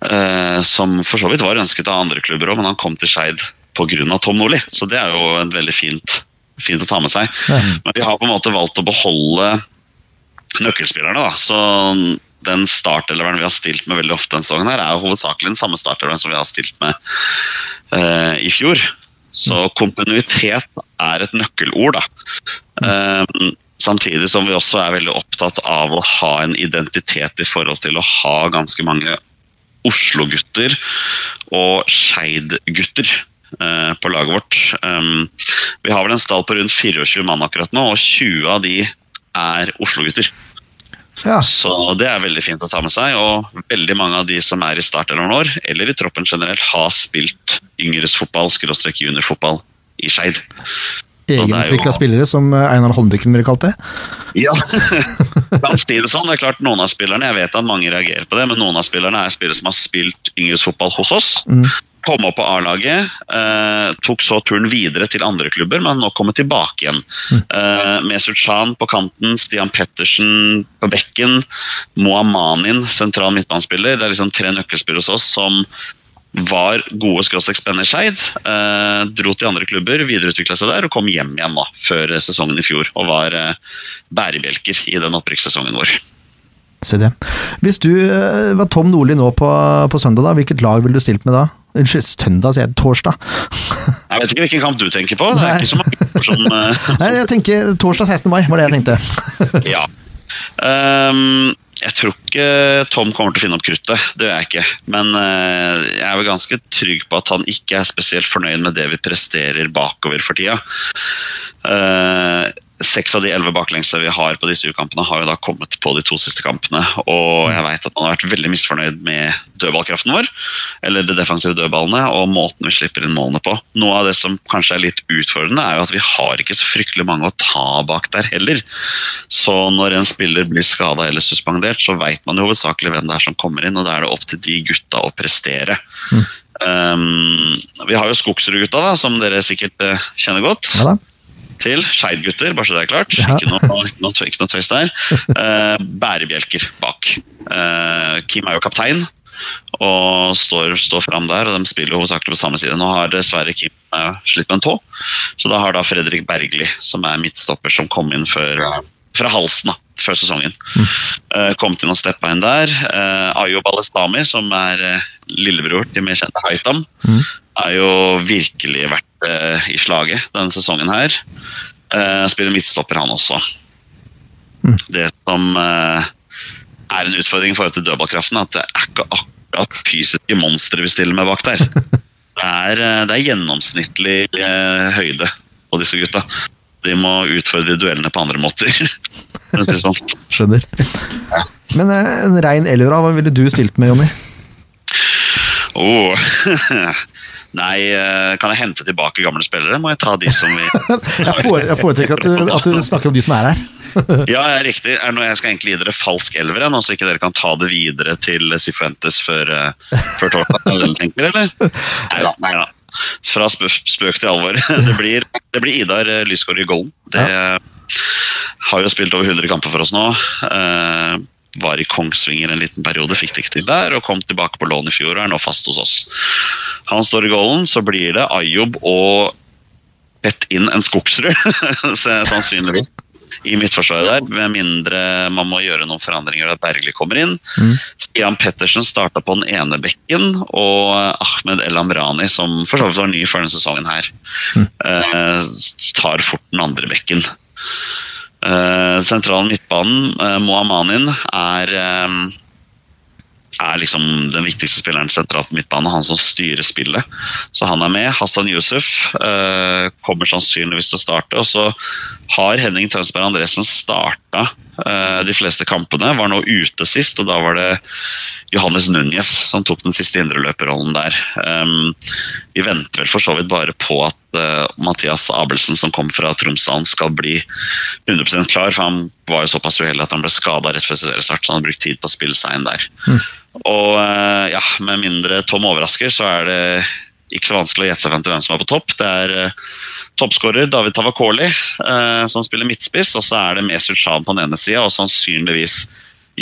Eh, som for så vidt var ønsket av andre klubber òg, men han kom til Skeid pga. Tom Nordli. Så det er jo en veldig fint, fint å ta med seg. Men vi har på en måte valgt å beholde nøkkelspillerne, da. Så den starteleveren vi har stilt med veldig ofte denne sesongen, her, er jo hovedsakelig den samme starteleveren som vi har stilt med eh, i fjor. Så kontinuitet er et nøkkelord, da. Eh, samtidig som vi også er veldig opptatt av å ha en identitet i forhold til å ha ganske mange Oslo-gutter og Skeid-gutter eh, på laget vårt. Um, vi har vel en stall på rundt 24 mann akkurat nå, og 20 av de er Oslo-gutter.
Ja.
Så det er veldig fint å ta med seg. Og veldig mange av de som er i startelveren vår, eller i troppen generelt, har spilt yngres fotball, skråstrek juniorfotball, i Skeid.
Egenutvikla spillere, som eh, Einar Holmviken ville kalt det.
Ja. Kan si det sånn. Det er klart noen av spillerne, jeg vet at mange reagerer på det, men noen av spillerne er spillere som har spilt yngresfotball hos oss. Kom opp på A-laget, eh, tok så turen videre til andre klubber, men har nå kommet tilbake igjen. Eh, Mesut Can på kanten, Stian Pettersen på bekken, Moamanin sentral midtbanespiller. Det er liksom tre nøkkelspillere hos oss som var gode skråstrekspenner Skeid. Eh, dro til andre klubber, videreutvikla seg der og kom hjem igjen da, før sesongen i fjor. Og var eh, bærebjelker i den opprykkssesongen vår.
Se det. Hvis du eh, var Tom Nordli nå på, på søndag, da, hvilket lag ville du stilt med da? Unnskyld, søndag, sier jeg. Torsdag.
Jeg vet ikke hvilken kamp du tenker på. Det
Nei.
er ikke så mange som, eh,
Nei, jeg tenker torsdag 16. mai, var det jeg tenkte.
Ja. Ehm, jeg tror ikke Tom kommer til å finne opp kruttet, det gjør jeg ikke. Men eh, jeg er vel ganske trygg på at han ikke er spesielt fornøyd med det vi presterer bakover for tida. Eh, Seks av de elleve baklengsa vi har på disse ukampene, har jo da kommet på de to siste kampene.
Mm.
Og jeg veit at han har vært veldig misfornøyd med dødballkraften vår. Eller de defensive dødballene, og måten vi slipper inn målene på. Noe av det som kanskje er litt utfordrende, er jo at vi har ikke så fryktelig mange å ta bak der heller. Så når en spiller blir skada eller suspendert, så veit man jo hovedsakelig hvem det er som kommer inn, og da er det opp til de gutta å prestere.
Mm.
Um, vi har jo Skogsrud-gutta, da, som dere sikkert eh, kjenner godt
Ja da.
til. Skeidgutter, bare så det er klart.
Ja.
Ikke, noe, ikke, noe, ikke noe tøys der. Eh, bærebjelker bak. Eh, Kim er jo kaptein og står, står fram der, og de spiller jo hovedsakelig på samme side. Nå har dessverre Kim eh, slitt med en tå, så da har da Fredrik Bergli, som er midtstopper, som kom inn før, fra halsen da, før sesongen, eh, kom til å steppe inn der. Eh, Ayo Balestami, som er eh, lillebror til mer kjente Haitam, er jo virkelig vært eh, i slaget denne sesongen her. Eh, spiller midtstopper, han også. Det som eh, er en utfordring i forhold til dødballkraften, er at det er ikke akkurat fysiske monstre vi stiller med bak der. Det er, eh, det er gjennomsnittlig eh, høyde på disse gutta. De må utfordre duellene på andre måter. For å si det sånn.
Skjønner. Men eh, en rein elvera, hva ville du stilt med, Jonny?
Oh. Nei, eh, kan jeg hente tilbake gamle spillere? Må jeg ta de som vi
Jeg, fore, jeg foretrekker at du, at du snakker om de som er her.
Ja, ja, riktig. Er det noe jeg skal egentlig gi dere falsk elver, jeg, nå, så ikke dere kan ta det videre til Sifuentes før, eh, før torsdag? Er det det du tenker, eller? Nei da. Nei da. Fra spø spøk til alvor. Det blir, det blir Idar eh, Lysgård i Golden. Det eh, har jo spilt over 100 kamper for oss nå. Eh, var i Kongsvinger en liten periode, fikk det ikke til der, og kom tilbake på lån i fjor og er nå fast hos oss. Han står i Golden, så blir det Ayob og ett inn en Skogsrud, så- sannsynligvis i midtforsvaret der, med mindre man må gjøre noen forandringer at Bergli kommer inn. Stian Pettersen starta på den ene bekken, og Ahmed El Amrani, som for så vidt var ny før denne sesongen her, eh, tar fort den andre bekken. Eh, sentralen midtbanen, eh, Moamanin, er eh, er liksom den viktigste spilleren sentralt på midtbane, han som styrer spillet. Så han er med. Hassan Yusuf eh, kommer sannsynligvis til å starte. Og så har Henning Tønsberg Andresen starta eh, de fleste kampene. Var nå ute sist, og da var det Johannes Núñez som tok den siste indreløperrollen der. Ehm, vi venter vel for så vidt bare på at eh, Mathias Abelsen, som kom fra Tromsdalen, skal bli 100 klar, for han var jo såpass uheldig at han ble skada rett før seriestart, så han har brukt tid på å spille seg inn der. Og eh, ja, med mindre Tom overrasker, så er det ikke så vanskelig å gjette seg frem til hvem som er på topp. Det er eh, toppskårer David Tavakoli, eh, som spiller midtspiss, og så er det Mesut Shan på den ene sida, og sannsynligvis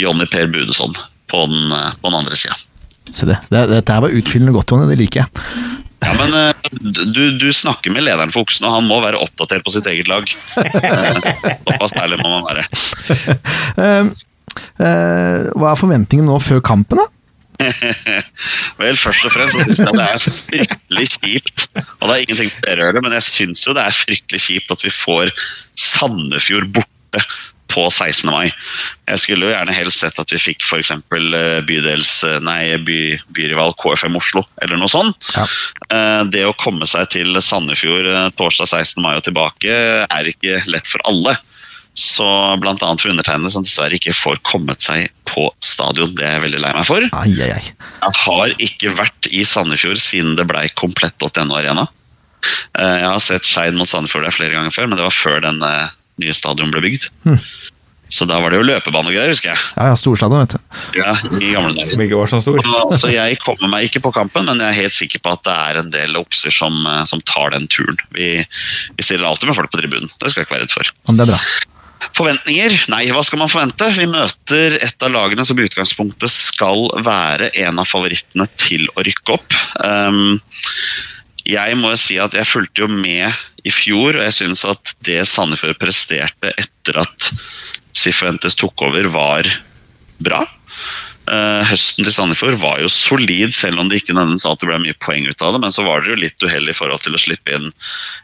Jonny Per Budesson på den, eh, på den andre sida.
Se det. det. Dette her var utfyllende godt, Tone. Det liker jeg.
Ja, men eh, du, du snakker med lederen for Oksen, og han må være oppdatert på sitt eget lag. Eh, Såpass ærlig må man være.
Ehm, eh, hva er forventningen nå før kampen, da?
Vel, først og fremst så synes jeg det er fryktelig kjipt, og det er ingenting til dere å gjøre, men jeg syns jo det er fryktelig kjipt at vi får Sandefjord borte på 16. mai. Jeg skulle jo gjerne helst sett at vi fikk f.eks. bydels... eh, Nei, by, byrival KFM Oslo, eller noe sånt. Eh, Det å komme seg til Sandefjord eh, torsdag 16. mai og tilbake er ikke lett for alle. Så bl.a. for undertegnede, som dessverre ikke får kommet seg på stadion. Det er jeg veldig lei meg for.
Ai, ai, ai.
Jeg har ikke vært i Sandefjord siden det blei komplett.no Arena. Eh, Jeg har sett Skeid mot Sandefjord der flere ganger før, men det var før den eh, nye stadion ble bygd. Så da var det jo løpebane og greier, husker jeg.
Ja, ja, storstadion, vet du.
Ja, i gamle dager.
Som ikke var så stor.
Så- Så jeg kommer meg ikke på kampen, men jeg er helt sikker på at det er en del oppstyr som, eh, som tar den turen. Vi, vi stiller alltid med folk på tribunen, det skal jeg ikke være redd for.
Men det er bra.
Forventninger? Nei, hva skal man forvente? Vi møter et av lagene som i utgangspunktet skal være en av favorittene til å rykke opp. Ehm, jeg må jo si at jeg fulgte jo med i fjor, og jeg syns at det Sandefjord presterte etter at Sifuentes tok over, var bra. Eh, høsten til Sandefjord var jo solid, selv om det ikke nødvendigvis alltid ble mye poeng ut av det. Men så var dere jo litt uheldige i forhold til å slippe inn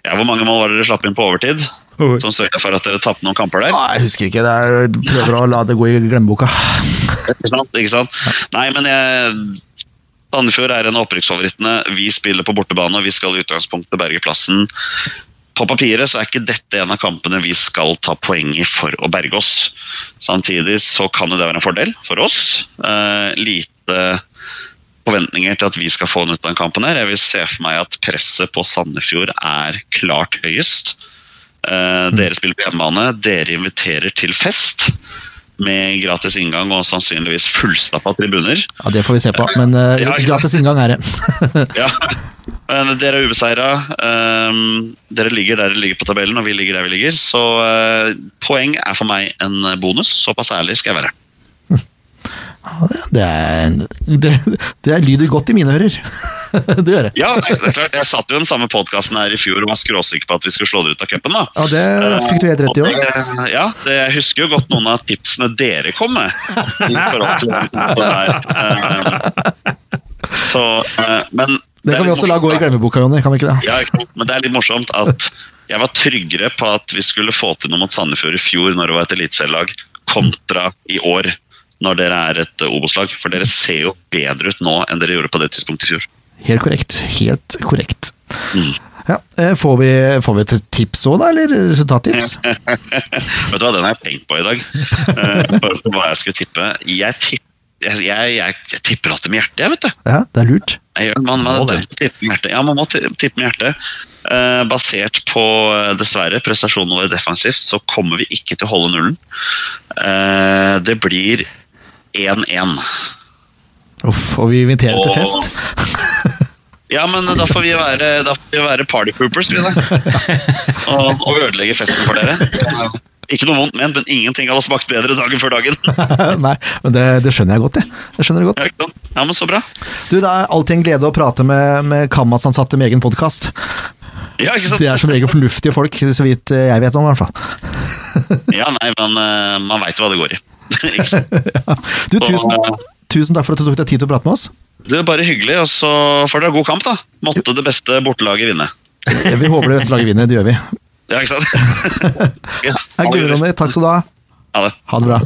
Ja, Hvor mange mål var det dere slapp inn på overtid?
Oi.
Som sørga for at dere tapte noen kamper der?
Ah, jeg husker ikke. Det er, prøver å la det gå i glemmeboka.
Ikke sant? Ikke sant? Nei, men jeg Sandefjord er en av opprykksfavorittene. Vi spiller på bortebane, og vi skal i utgangspunktet berge plassen. På papiret så er ikke dette en av kampene vi skal ta poeng i for å berge oss. Samtidig så kan jo det være en fordel for oss. Eh, lite forventninger til at vi skal få den ut av den kampen her. Jeg vil se for meg at presset på Sandefjord er klart høyest. Eh, dere spiller på hjemmebane, dere inviterer til fest med gratis inngang og sannsynligvis fullstappa tribuner.
Ja, Det får vi se på, men eh,
Ja, ikke sant.
gratis inngang er det.
Ja. Men Dere er ubeseira. ehm, Dere ligger der dere ligger på tabellen, og vi ligger der vi ligger. Så eh, poeng er for meg en eh, bonus. Såpass ærlig skal jeg være.
Det er, det, det lyder godt i mine ører. Det gjør det.
Ja, nei, det er klart. Jeg satt jo i den samme podkasten her i fjor og var skråsikker på at vi skulle slå dere ut av cupen. da. Eh,
Ja, det fikk du helt rett i
Og
òg.
det- Ja, det, jeg husker jo godt noen av tipsene dere kom med. i forhold til den kampen der. Ehm, Så, eh, men
Det kan vi også la gå i glemmeboka, Jonny. Kan vi ikke det?
Ja, ikke sant? men det er litt morsomt at jeg var tryggere på at vi skulle få til noe mot Sandefjord i fjor når det var et eliteserielag, kontra i år når dere er et eh, Obos-lag. For dere ser jo bedre ut nå enn dere gjorde på det tidspunktet i fjor.
Helt korrekt. Helt korrekt.
Mm.
Ja, eh, får, vi, får vi et tips òg, da? Eller resultattips?
Vet du hva, den har jeg tenkt på i dag. eh, For hva jeg skulle tippe. Jeg tipp- jeg, jeg, jeg, jeg tipper alltid med hjertet, jeg, vet du.
Ja, det er lurt.
Jeg gjør, man,
Må
man, er
det.
dømt til å tippe med hjertet. Ja, man må ti- tippe med hjertet. Eh, basert på, eh, dessverre, prestasjonen vår defensivt, så kommer vi ikke til å holde nullen. Eh, det blir 1-1.
Uff, og vi inviterer til
Åh.
fest.
Ja, men da får vi være, da får vi være party poopers, vi da. Og, og ødelegge festen for dere. Eh, Ikke noe vondt ment, men ingenting hadde smakt bedre dagen før dagen.
Nei, men det, det skjønner jeg godt, jeg. Det skjønner jeg godt.
Ja, ikke sant? ja, men så bra.
Du, Det er alltid en glede å prate med, med Kammas-ansatte med egen podkast.
Ja, ikke sant?
De er som regel fornuftige folk, så vidt eh, jeg vet om, i hvert fall.
Ja, nei, men eh, man veit jo hva det går i. Ikke sant?
Du, tusen, tusen takk for at du tok deg tid til å prate med oss.
Det er bare hyggelig, og så får dere ha god kamp, da. Måtte det beste bortelaget vinne.
Vi håper det beste laget vinner, det gjør vi.
Ja, ikke sant? ja,
Jeg gleder meg, Ronny. Takk skal du ha.
Ha det.
Ha det bra.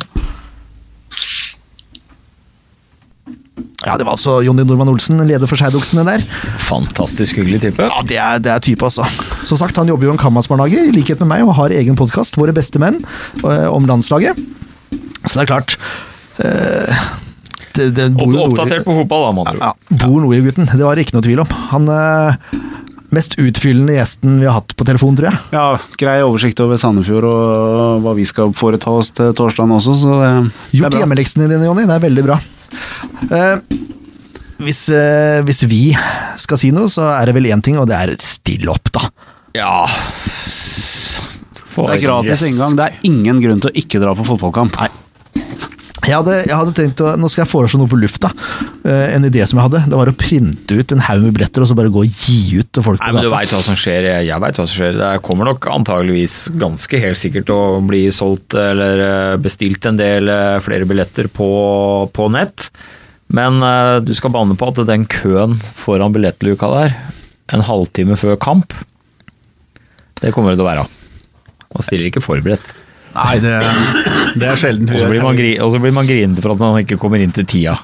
Ja, det var altså Jonny Normann Olsen, leder for Skeidoksene der.
Fantastisk hyggelig type.
Ja, det er, det er type, altså. Som sagt, han jobber jo i en Kammas-barnehage, i likhet med meg, og har egen podkast, Våre beste menn, eh, om landslaget. Så det er klart eh, det, det bor jo noe-
Oppdatert på fotball, da, med andre
ja, bor noe i gutten. Det var det ikke noe tvil om. Han eh, mest utfyllende gjesten vi har hatt på telefon, tror jeg.
Ja, grei oversikt over Sandefjord og hva vi skal foreta oss til torsdagen også, så det, det er
Gjort
bra.
hjemmeleksene dine, Jonny. Det er veldig bra. Eh, hvis, eh, hvis vi skal si noe, så er det vel én ting, og det er still opp, da.
ord. Ja.
Det er gratis inngang. Det er ingen grunn til å ikke dra på fotballkamp.
Jeg hadde, jeg hadde tenkt å, Nå skal jeg foreslå noe på lufta. Eh, en idé som jeg hadde. Det var å printe ut en haug med bretter og så bare gå og gi ut til folk
Nei,
på
men Du
gata.
veit hva som skjer. Jeg- Jeg veit hva som skjer. Det kommer nok antageligvis ganske helt sikkert å bli solgt eller eh, bestilt en del eh, flere billetter på, på nett. Men eh, du skal banne på at den køen foran billettluka der, en halvtime før kamp, det kommer det til å være. Man stiller ikke forberedt.
Nei, det, det er sjelden.
Og så blir man, gri og så blir man grinete for at man ikke kommer inn til tida.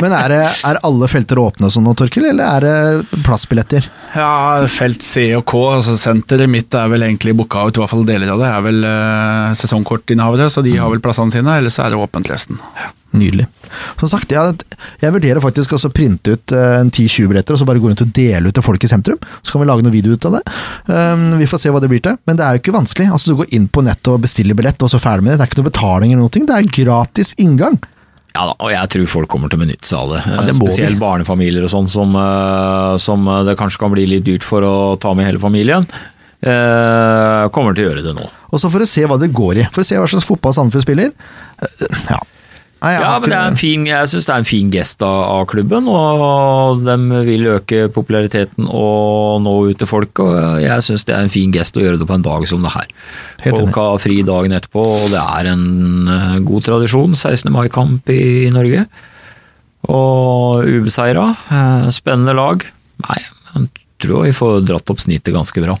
Men er, det, er alle felter åpne og sånn nå, Torkil, eller er det plassbilletter?
Ja, felt C og K, altså senteret mitt er vel egentlig booka ut, i hvert fall deler av det. Er vel eh, sesongkortinnehavere, så de har vel plassene sine, eller så er det åpent resten.
Nydelig. Som sagt, jeg, jeg vurderer faktisk også å printe ut eh, en 10-20 bretter og så bare gå rundt og dele ut til folk i sentrum. Så kan vi lage noe video ut av det. Um, vi får se hva det blir til. Men det er jo ikke vanskelig. Altså, du går inn på nettet og bestiller billett, og så ferdig med det. Det er ikke noe betaling eller noe. Det er gratis inngang.
Ja da, og jeg tror folk kommer til å benytte seg av det.
det må
Spesielt
de.
barnefamilier og sånn, som, eh, som eh, det kanskje kan bli litt dyrt for å ta med hele familien. eh, kommer til å gjøre det nå.
Og så for å se hva det går i. For å se hva slags fotball Sandefjord spiller. Eh, Ja. Nei, jeg
Ja,
har
men det er en
ikke-
fin, Jeg syns det er en fin gest av, av klubben, og de vil øke populariteten og nå ut til folk. og Jeg syns det er en fin gest å gjøre det på en dag som det her.
Helt enig.
Folk har fri dagen etterpå, og det er en eh, god tradisjon. 16. mai-kamp i, i Norge. Og ubeseira. eh, Spennende lag. Nei, jeg tror vi får dratt opp snittet ganske bra.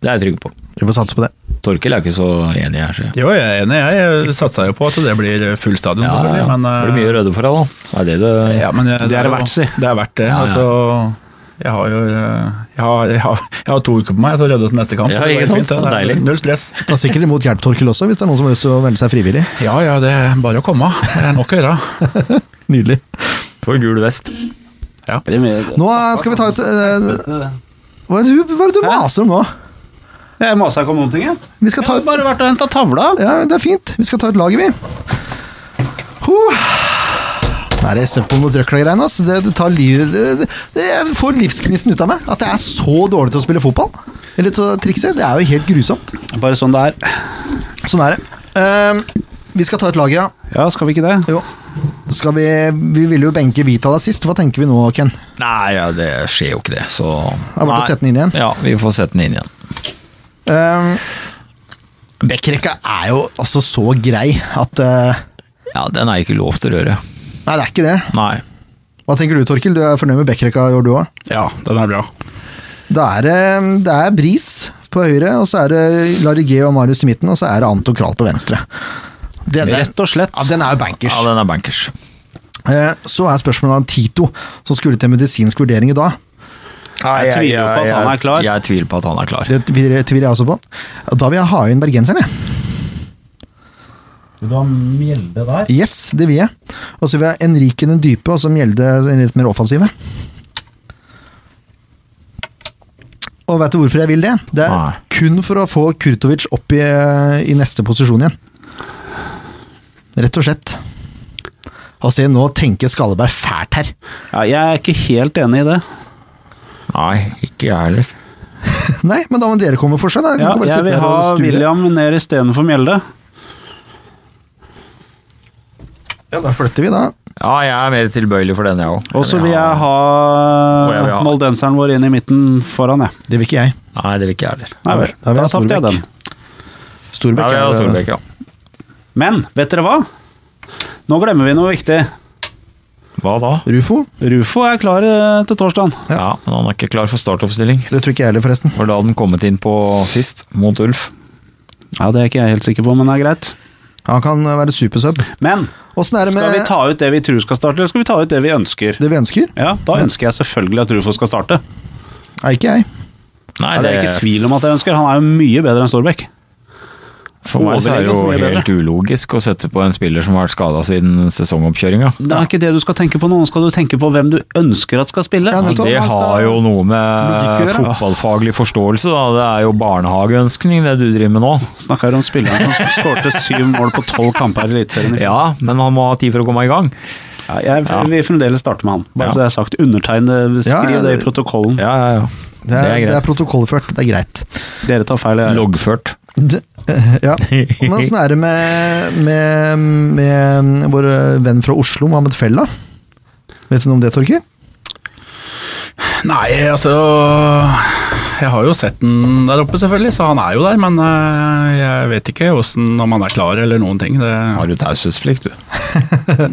Det er jeg trygg på.
Vi får satse på det.
Torkel er ikke så enig her. Så.
Jo, jeg er enig. Jeg satsa jo på at det blir full stadion,
Ja, ja.
selvfølgelig. Men, eh,
Blir mye røde for deg, da. Det er det det
ja, men, eh,
Det er det verdt, si.
Det er verdt det.
Ja, ja.
Altså, jeg har jo eh, jeg har, jeg har, jeg har to uker på meg til å rydde til neste kamp.
Ja,
så det
ikke
går
sant?
fint, det. Det er
Deilig.
Null stress.
Ta sikkert imot hjelp, Torkil, også, hvis det er noen som har lyst til å melde seg frivillig.
Ja ja, det er bare å komme. Det er nok å gjøre.
Nydelig.
For gul vest.
Nå skal vi ta ut eh, Hva er det du, hva er det du maser om nå?
Jeg masa ikke om noen ting, jeg.
Vi skal ta ut
Bare vært og henta tavla.
Ja, det er fint. Vi skal ta ut laget, vi. Huh. Det er SF-på mot Røkla-greiene. ass. Det, det tar livet det, det, det, Jeg får livsgnisten ut av meg. At jeg er så dårlig til å spille fotball. Eller til å trikse. Det er jo helt grusomt.
Bare sånn det er.
Sånn er det. Ehm, vi skal ta ut laget, ja.
Ja, skal vi ikke det?
Jo. Skal vi, vi ville jo benke Vitala sist. Hva tenker vi nå, Ken? Det
Nei, ja, det skjer jo ikke det, så
er bare
Nei.
å sette den inn igjen.
Ja, vi får sette den inn igjen.
Um, Bekkrekka er jo altså så grei at eh,
Ja, den er ikke lov til å røre.
Nei, det er ikke det.
Nei.
Hva tenker du, Torkil? Du er fornøyd med Bekkrekka i år, du òg?
Ja, den er bra.
Det er, eh, det er Bris på høyre, og så er det Larigé og Marius til midten, og så er det Anton Kral på venstre. Den,
Rett og slett.
Ja, den er jo bankers.
Ja, den er bankers.
Eh, Så er spørsmålet om Tito, som skulle til medisinsk vurdering i dag.
jeg tviler jo på at han er klar.
Jeg tviler på at han er klar.
Det tviler tviler jeg også på. Og Da vil jeg ha inn bergenseren, jeg.
Vil du ha mjelde der?
Yes, det vil jeg. Og så vil jeg Enrique den dype, og så Mjelde den litt mer offensive. Og veit du hvorfor jeg vil det? Det er
Nei.
kun for å få Kurtovic opp i, i neste posisjon igjen. Rett og slett. Og se, nå tenker Skalleberg fælt her.
Ja, jeg er ikke helt enig i det.
Nei, ikke jeg heller.
Nei, men da må dere komme for seg, da. Dere
Ja,
kan bare
jeg
sitte
vil
her
ha
og sture.
William ned istedenfor Mjelde.
Ja, da flytter vi, da.
Ja, jeg er mer tilbøyelig for den, jeg òg.
Og så vil jeg
Og jeg vil
ha
ha-
moldenseren vår inn i midten foran, jeg.
Det vil ikke jeg.
Nei, det vil ikke jeg heller.
Nei
Da
vel,
vil- da vil
da
jeg ha
tapte jeg den.
Storbekk. Storbekk
Ja, vi har
er- eh,
Solbekk, ja.
Men vet dere hva? Nå glemmer vi noe viktig.
Hva da?
Rufo?
Rufo er klar eh, til torsdag.
Ja.
Ja. men han er ikke klar for startoppstilling.
Det tror ikke jeg heller, forresten.
Var da den kommet inn på sist, mot Ulf.
Ja, Det er ikke jeg helt sikker på, men det er greit.
Han kan eh, være supersub.
Men
Åssen er det
skal vi
med
ta ut det vi tror skal starte, eller skal vi ta ut det vi ønsker?
eh, det vi ønsker?
Ja, Da ønsker jeg selvfølgelig at Rufo skal starte.
Nei, ikke jeg.
Nei,
Ja, det er ikke tvil om at jeg ønsker. Han er jo mye bedre enn Storbekk.
For meg så er det jo
Overlegent mye bedre.
helt ulogisk å sette på en spiller som har vært skada siden sesongoppkjøringa.
Det er ikke det du skal tenke på nå, nå skal du tenke på hvem du ønsker at skal spille.
Ja, nettopp.
Det
Han skal-
har jo noe
Logikk å
med
gjøre.
fotballfaglig forståelse, da. Det er jo barnehageønskning, det du driver med nå.
Snakker om spilleren som skårte syv mål på tolv kamper i Eliteserien. i fjor.
Ja, men han må ha tid for å komme i gang.
Ja, jeg
Ja.
vil fremdeles starte med han.
Ja.
Bare så det er sagt. Undertegn det, skriv
Ja, ja,
det i
det-
protokollen.
Ja, ja, ja.
Det er, det er,
greit.
protokollført, det er greit.
Dere tar feil. jeg-
Loggført.
D- ja. Men åssen er det med, med, med vår venn fra Oslo, Mohammed Fella? Vet du noe om det, Torkil?
Nei, altså Jeg har jo sett den der oppe, selvfølgelig, så han er jo der. Men eh, jeg vet ikke hvordan, om han er klar eller noen ting. Det,
Har du taushetsplikt, du?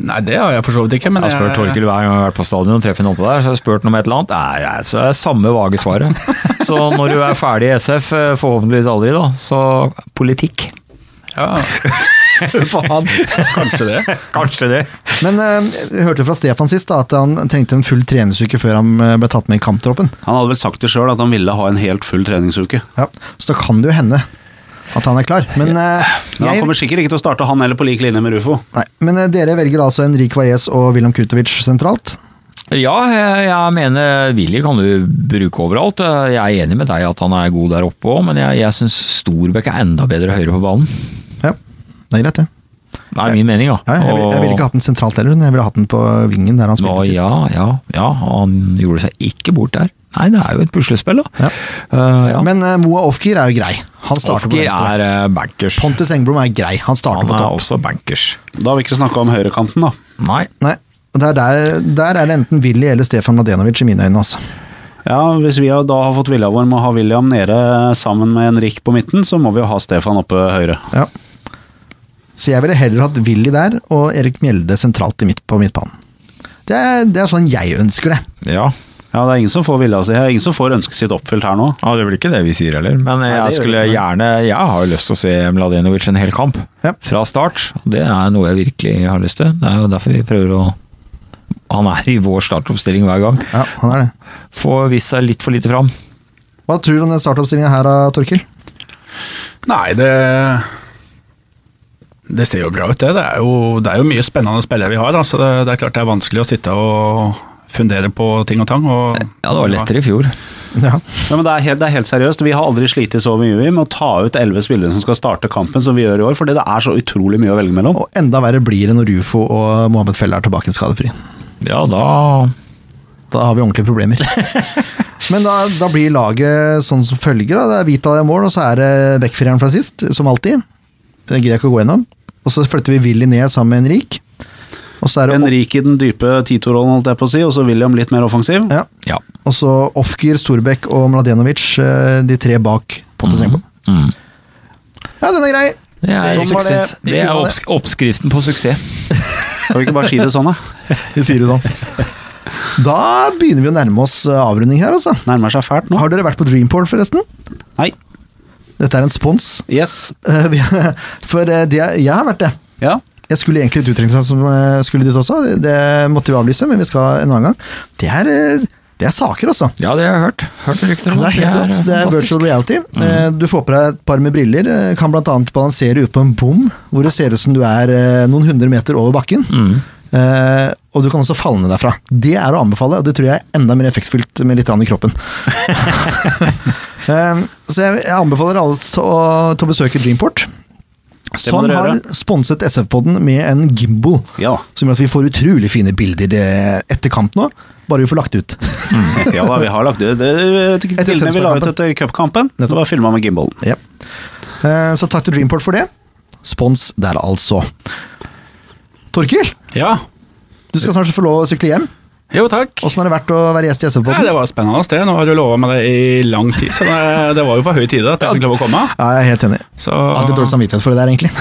nei, det har jeg for så vidt ikke. Men
Jeg spør Torkil hver gang jeg har vært på stadion og treffer noen på der, så har jeg spurt noe om et eller annet. Nei, nei, så er det samme vage svaret. Så når du er ferdig i SF, eh, forhåpentligvis aldri, da, så politikk.
Ja,
Faen.
kanskje det.
Kanskje det.
Men eh, jeg hørte fra Stefan sist da, at han trengte en full treningsuke før han eh, ble tatt med i kamptroppen.
Han hadde vel sagt det sjøl, at han ville ha en helt full treningsuke.
Ja. Så da kan det jo hende at han er klar. Men, eh,
Men han
jeg,
kommer sikkert ikke til å starte han heller på lik linje med Rufo.
nei, men eh, dere velger altså Henrik Wajez og Wilhelm Kurtovic sentralt.
Ja, jeg, jeg mener Willy kan du bruke overalt. Jeg er enig med deg at han er god der oppe òg, men jeg, jeg syns Storbekk er enda bedre høyre på banen.
Ja, det er greit, det.
Det er min mening, da.
Ja, jeg, vil- jeg ville ikke hatt den sentralt heller, men jeg ville hatt den på vingen der han spilte
Nå,
sist.
ja, ja, ja, han gjorde seg ikke bort der. Nei, det er jo et puslespill, da.
Ja.
Eh, ja.
Men eh, Moa Ofkir er jo grei. Han starter på
Ofker
venstre.
er eh, bankers.
Pontus Engblom er grei. Han starter
Han
på
er
topp.
også bankers.
Da har vi ikke snakka om høyrekanten, da.
Nei,
Nei, der, der, der er det enten Willy eller Stefan Mladenovic i mine øyne. Altså.
Ja, Hvis vi har- da har fått vilja vår med å ha William nede sammen med Henrik på midten, så må vi jo ha Stefan oppe høyre.
Ja. Så jeg ville heller hatt Willy der og Erik Mjelde sentralt i midt, på midtbanen. Det er, det er sånn jeg ønsker det.
ja.
Ja, Det er ingen som får vilja si, det er ingen som får ønsket sitt oppfylt her nå.
Ja, Det blir ikke det vi sier heller, men jeg,
det gjør
skulle
det ikke.
gjerne Jeg har jo lyst til å se Mladenovic en hel kamp.
Ja.
Fra start. Det er noe jeg virkelig har lyst til. Det er jo derfor vi prøver å Han er i vår startoppstilling hver gang.
Ja, han er det.
Får vist seg litt for lite fram.
Hva tror du om den startoppstillinga her, da, Torkil?
Nei, det Det ser jo bra ut, det. Det er jo, det er jo mye spennende spillere vi har. Da, så det, det er klart det er vanskelig å sitte og fundere på ting og tang. Og,
Ja, det var lettere i fjor.
Ja.
Ja, men det er, helt, det er helt seriøst. Vi har aldri slitt så mye vi med å ta ut elleve spillere som skal starte kampen, som vi gjør i år, fordi det er så utrolig mye å velge mellom.
Og enda verre blir det når Rufo og Mohammed Felle er tilbake skadefri.
Ja, da
Da har vi ordentlige problemer. Men da, da blir laget sånn som følger. Da. Det er Vital i mål, og så er det backfireren fra sist, som alltid. Det gidder jeg ikke å gå gjennom. Og så flytter vi Willy ned sammen med Henrik. Og så er det
Henrik i den dype titorollen, holdt jeg på å si, og så William litt mer offensiv.
ja.
Ja.
Og så Ofgir, Storbekk og Mladenovic, eh, de tre bak Pontus Engblom.
Mm.
Ja, den er grei!
Det er,
Sånn var det.
suksess. Det er opps oppskriften på suksess.
Kan vi ikke bare si det sånn, da?
Vi sier det sånn. Da begynner vi å nærme oss eh, avrunding her, altså.
Nærmer seg fælt nå.
Har dere vært på Dreamport, forresten?
Nei.
Dette er en spons.
Yes.
Eh, vi- For eh, det, jeg har vært det.
Ja.
Jeg skulle egentlig sånn et utdrikningslag som eh, skulle dit også, det måtte vi avlyse, men vi skal en annen gang. Det er eh, Det er saker, altså.
Ja, det har jeg hørt. Hørt rykter om
Det er helt rått. Det er virtual reality. Eh, Du får på deg et par med briller, eh, kan bl.a. balansere ut på en bom hvor det ser ut som du er eh, noen hundre meter over bakken. Eh, og du kan også falle ned derfra. Det er å anbefale, og det tror jeg er enda mer effektfylt med litt rann i kroppen. Eh, så jeg, jeg anbefaler alle til å, til å besøke Dreamport. Som
dere
har sponset SF-podden med en gimbal,
Ja.
som gjør at vi får utrolig fine bilder eh, etter kamp nå. Bare vi får lagt ut.
Ja da, vi har lagt det. det, det til- Bildene vi la ut
Tønsberg-kampen.
etter cupkampen, det var filma med gimbalen.
Ja. Eh, Så takk til Dreamport for det. Spons der, altså. Torkil,
Ja.
du skal snart få lov å sykle hjem.
Jo, takk.
Åssen har det vært å være gjest i
Nei,
SV-podden?
det var et spennende sted. Nå har du lova meg det i lang tid, så det, det var jo på høy tide at jeg skulle klare å komme.
Ja, jeg er helt enig.
Så
Jeg har
Ah.
litt dårlig samvittighet for det der, egentlig.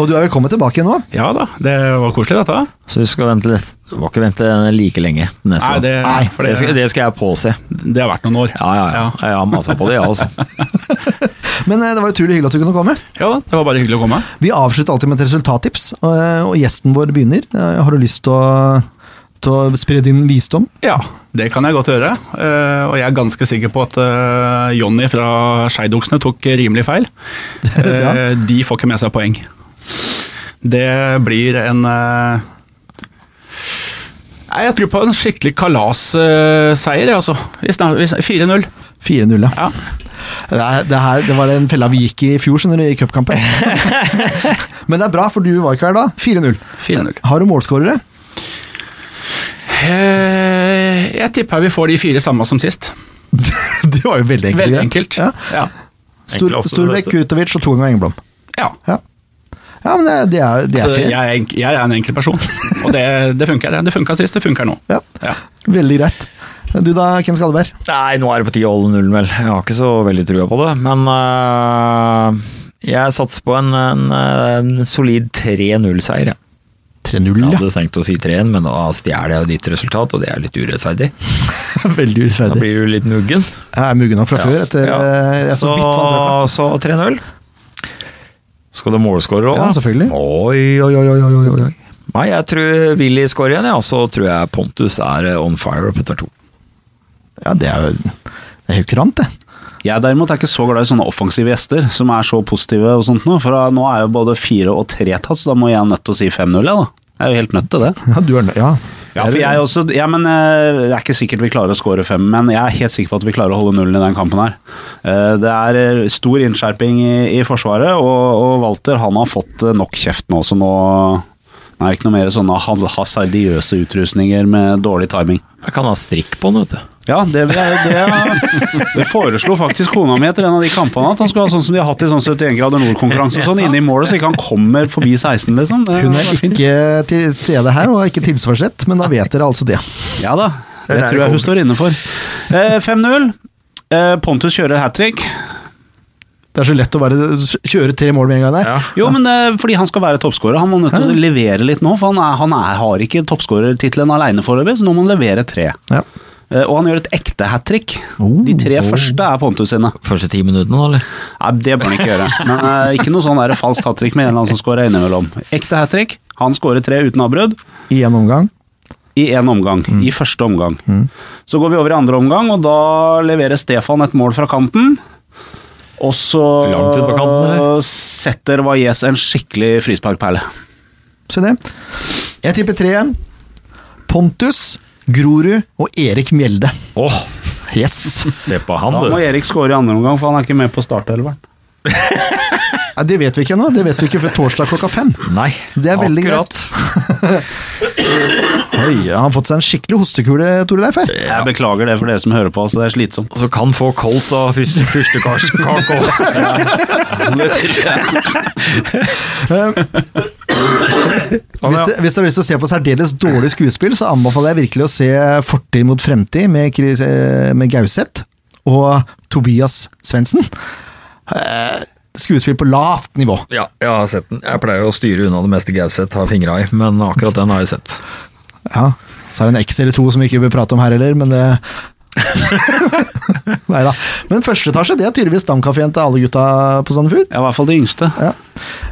og du er velkommen tilbake nå.
ja da, det var koselig dette.
Så du skal vente, litt- må ikke vente like lenge til neste
Nei,
gang.
det,
Nei,
for
det, skal,
det,
det skal jeg påse.
det har vært noen år.
Ja, ja, ja.
Ja.
Jeg har masa på det, jeg ja, også.
Men eh, det var utrolig hyggelig at du kunne komme.
Ja da, det var bare hyggelig å komme.
Vi avslutter alltid med et resultattips, og, eh, og gjesten vår begynner. Eh, Har du lyst til å, til å spre din visdom?
Ja, det kan jeg godt gjøre. Eh, og jeg er ganske sikker på at eh, Jonny fra Skeidoksene tok rimelig feil. Eh, De får ikke med seg poeng. Det blir en eh, Nei, jeg tror på en skikkelig kalasseier, jeg, altså. I snar- i snar- 4-0.
4-0, ja.
Ja.
Det, er- det, her, det var den fella vi gikk i i fjor, skjønner du, i cupkampen. Men det er bra, for du var ikke her da. 4-0.
4-0.
Har du målskårere?
Eh, Jeg tipper vi får de fire samme som sist.
Det var jo veldig enkelt.
Veldig
greit.
enkelt.
Ja.
Ja.
Stor,
Enkelt ofte det
Storbekk,
beste.
Utovic og Thorn og Engblom.
ja.
Ja. ja, men det, det er, det er
Så jeg,
fair.
er enk- jeg er en enkel person, og det, det funker. Det funka sist, det funker nå.
Ja.
Ja.
Veldig greit. Du da, Ken Skalleberg?
Nei, nå er det på tide å holde nullen, vel. Jeg har ikke så veldig trua på det. Men øh, jeg satser på en, en, øh, en solid 3-0-seier. jeg.
3-0,
Jeg
ja.
hadde tenkt å si 3-1, men da stjeler jeg jo ditt resultat, og det er litt urettferdig.
Veldig
Da
urettferdig.
blir du litt muggen.
Jeg er muggen nok fra før. Etter,
Ja.
eh, Jeg så vidt vant trøbbel.
Så 3-0. Skal du målskåre òg?
Ja, selvfølgelig.
Oi, oi, oi, oi, oi, oi, oi. Nei, jeg tror Willy skårer igjen, ja. så tror jeg Pontus er eh, on fire opp etter to.
Ja, det er jo det er helt kurant, det.
Jeg derimot er ikke så glad i sånne offensive gjester som er så positive og sånt nå, for eh, nå er jo både fire og tre tatt, så da må jeg nødt til å si 5-0, jeg da. Jeg er jo helt nødt til det.
Ja, du er nø- ja.
Ja, for jeg også, ja, men eh, Det er ikke sikkert vi klarer å score fem, men jeg er helt sikker på at vi klarer å holde nullen i den kampen. her. Eh, Det er eh, stor innskjerping i, i Forsvaret, og, og Walter han har fått eh, nok kjeft nå, så nå nå er det ikke noe mer sånne ha- hasardiøse utrustninger med dårlig timing.
Jeg kan ha strikk på den, vet du.
Ja, det, vil jeg- det, det foreslo faktisk kona mi etter en av de kampene, at han skulle ha sånn som de har hatt i sånn 71 grader nord-konkurranse og sånn, inne i målet, så ikke han kommer forbi 16, liksom. Det,
Hun er ikke til stede her og har ikke tilsvarsrett, men da vet dere altså det.
Ja da, det,
Det er der
tror
det
jeg hun
kommer.
står inne for. Eh, 5-0. Eh, Pontus kjører hat trick.
Det er så lett å bare kjøre tre mål med en gang der.
Jo, men eh, fordi han skal være toppskårer. Han må nødt til å levere litt nå, for han, er, han er, har ikke toppskårertittelen alene foreløpig, så nå må han levere tre.
Ja.
Eh, og han gjør et ekte hat trick.
Oh,
De tre første er Pontus sine.
Første ti minuttene, da, eller?
Nei, det bør han ikke gjøre. Men eh, ikke noe sånn der falskt hat trick med en eller annen som scorer innimellom. Ekte hat trick. Han scorer tre uten avbrudd.
I en omgang.
i én omgang.
Mm.
I første omgang. Så går vi over i andre omgang, og da leverer Stefan et mål fra kanten. Og så
Langt ut på kanten, eller?
setter Valles en skikkelig frisparkperle.
Se det. Jeg tipper tre igjen. Pontus, Grorud og Erik Mjelde.
Åh,
Yes!
se på han,
Da må
du.
Erik skåre i andre omgang, for han er ikke med på startelveren.
Ja, det vet vi ikke ennå. Det vet vi ikke før torsdag klokka fem.
Nei,
Det er veldig greit. Oi, han har fått seg en skikkelig hostekule, Tore Leif. her.
Jeg beklager det for dere som hører på, altså det er slitsomt.
Så kan få kols av fyrste- fyrstekake òg.
Eh, Hvis, det, hvis dere har lyst til å se på særdeles dårlig skuespill, så anbefaler jeg virkelig å se Fortid mot fremtid med, Chris- eh, med Gauseth og Tobias Svendsen. Eh, Skuespill på lavt nivå.
Ja, jeg har sett den. Jeg pleier å styre unna det meste Gauseth har fingra i, men akkurat den har jeg sett.
Ja, så er det en X eller to som vi ikke bør prate om her heller, men det Nei da. Men første etasje, det er tydeligvis stamkafeen til alle gutta på Sandefjord.
Ja, I hvert fall de yngste.
Ja.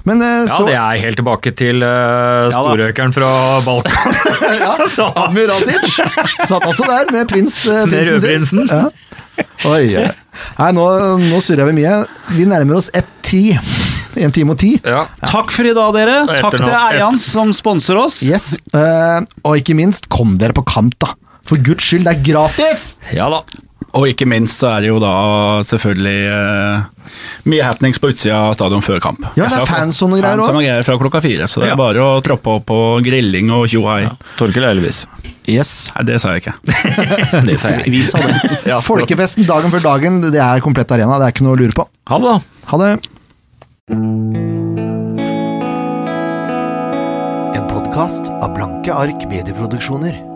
Men eh,
Ja,
så
det er helt tilbake til uh, storrøkeren fra Balkan. Så-
Amir Asic satt også der med prins, eh,
Altså. Med
prinsen sin.
rødprinsen.
Ja. Oi, oi. Nei, nå, nå surrer vi mye. Vi nærmer oss 1.10. En time og ti.
Ja.
Takk for i dag, dere.
Etter
Takk til
nå.
Eians som sponser oss.
Yes. eh, og ikke minst, kom dere på kamp, da. For guds skyld, det er gratis!
ja da.
Og ikke minst så er det jo da selvfølgelig eh, mye happenings på utsida av stadion før kamp.
Ja, det er
Fra-
fans og noe greier
fans
også.
og noe greier fra klokka fire, så det er
Ja.
bare å troppe opp på grilling og tjo og hei.
Torkel Elvis.
Yes.
Nei, det sa jeg ikke.
Det sa jeg. Vi sa det. Ja.
Folkefesten dagen før dagen, det er komplett arena. Det er ikke noe å lure på.
Ha det, da.
Ha det! En podkast av Blanke ark medieproduksjoner.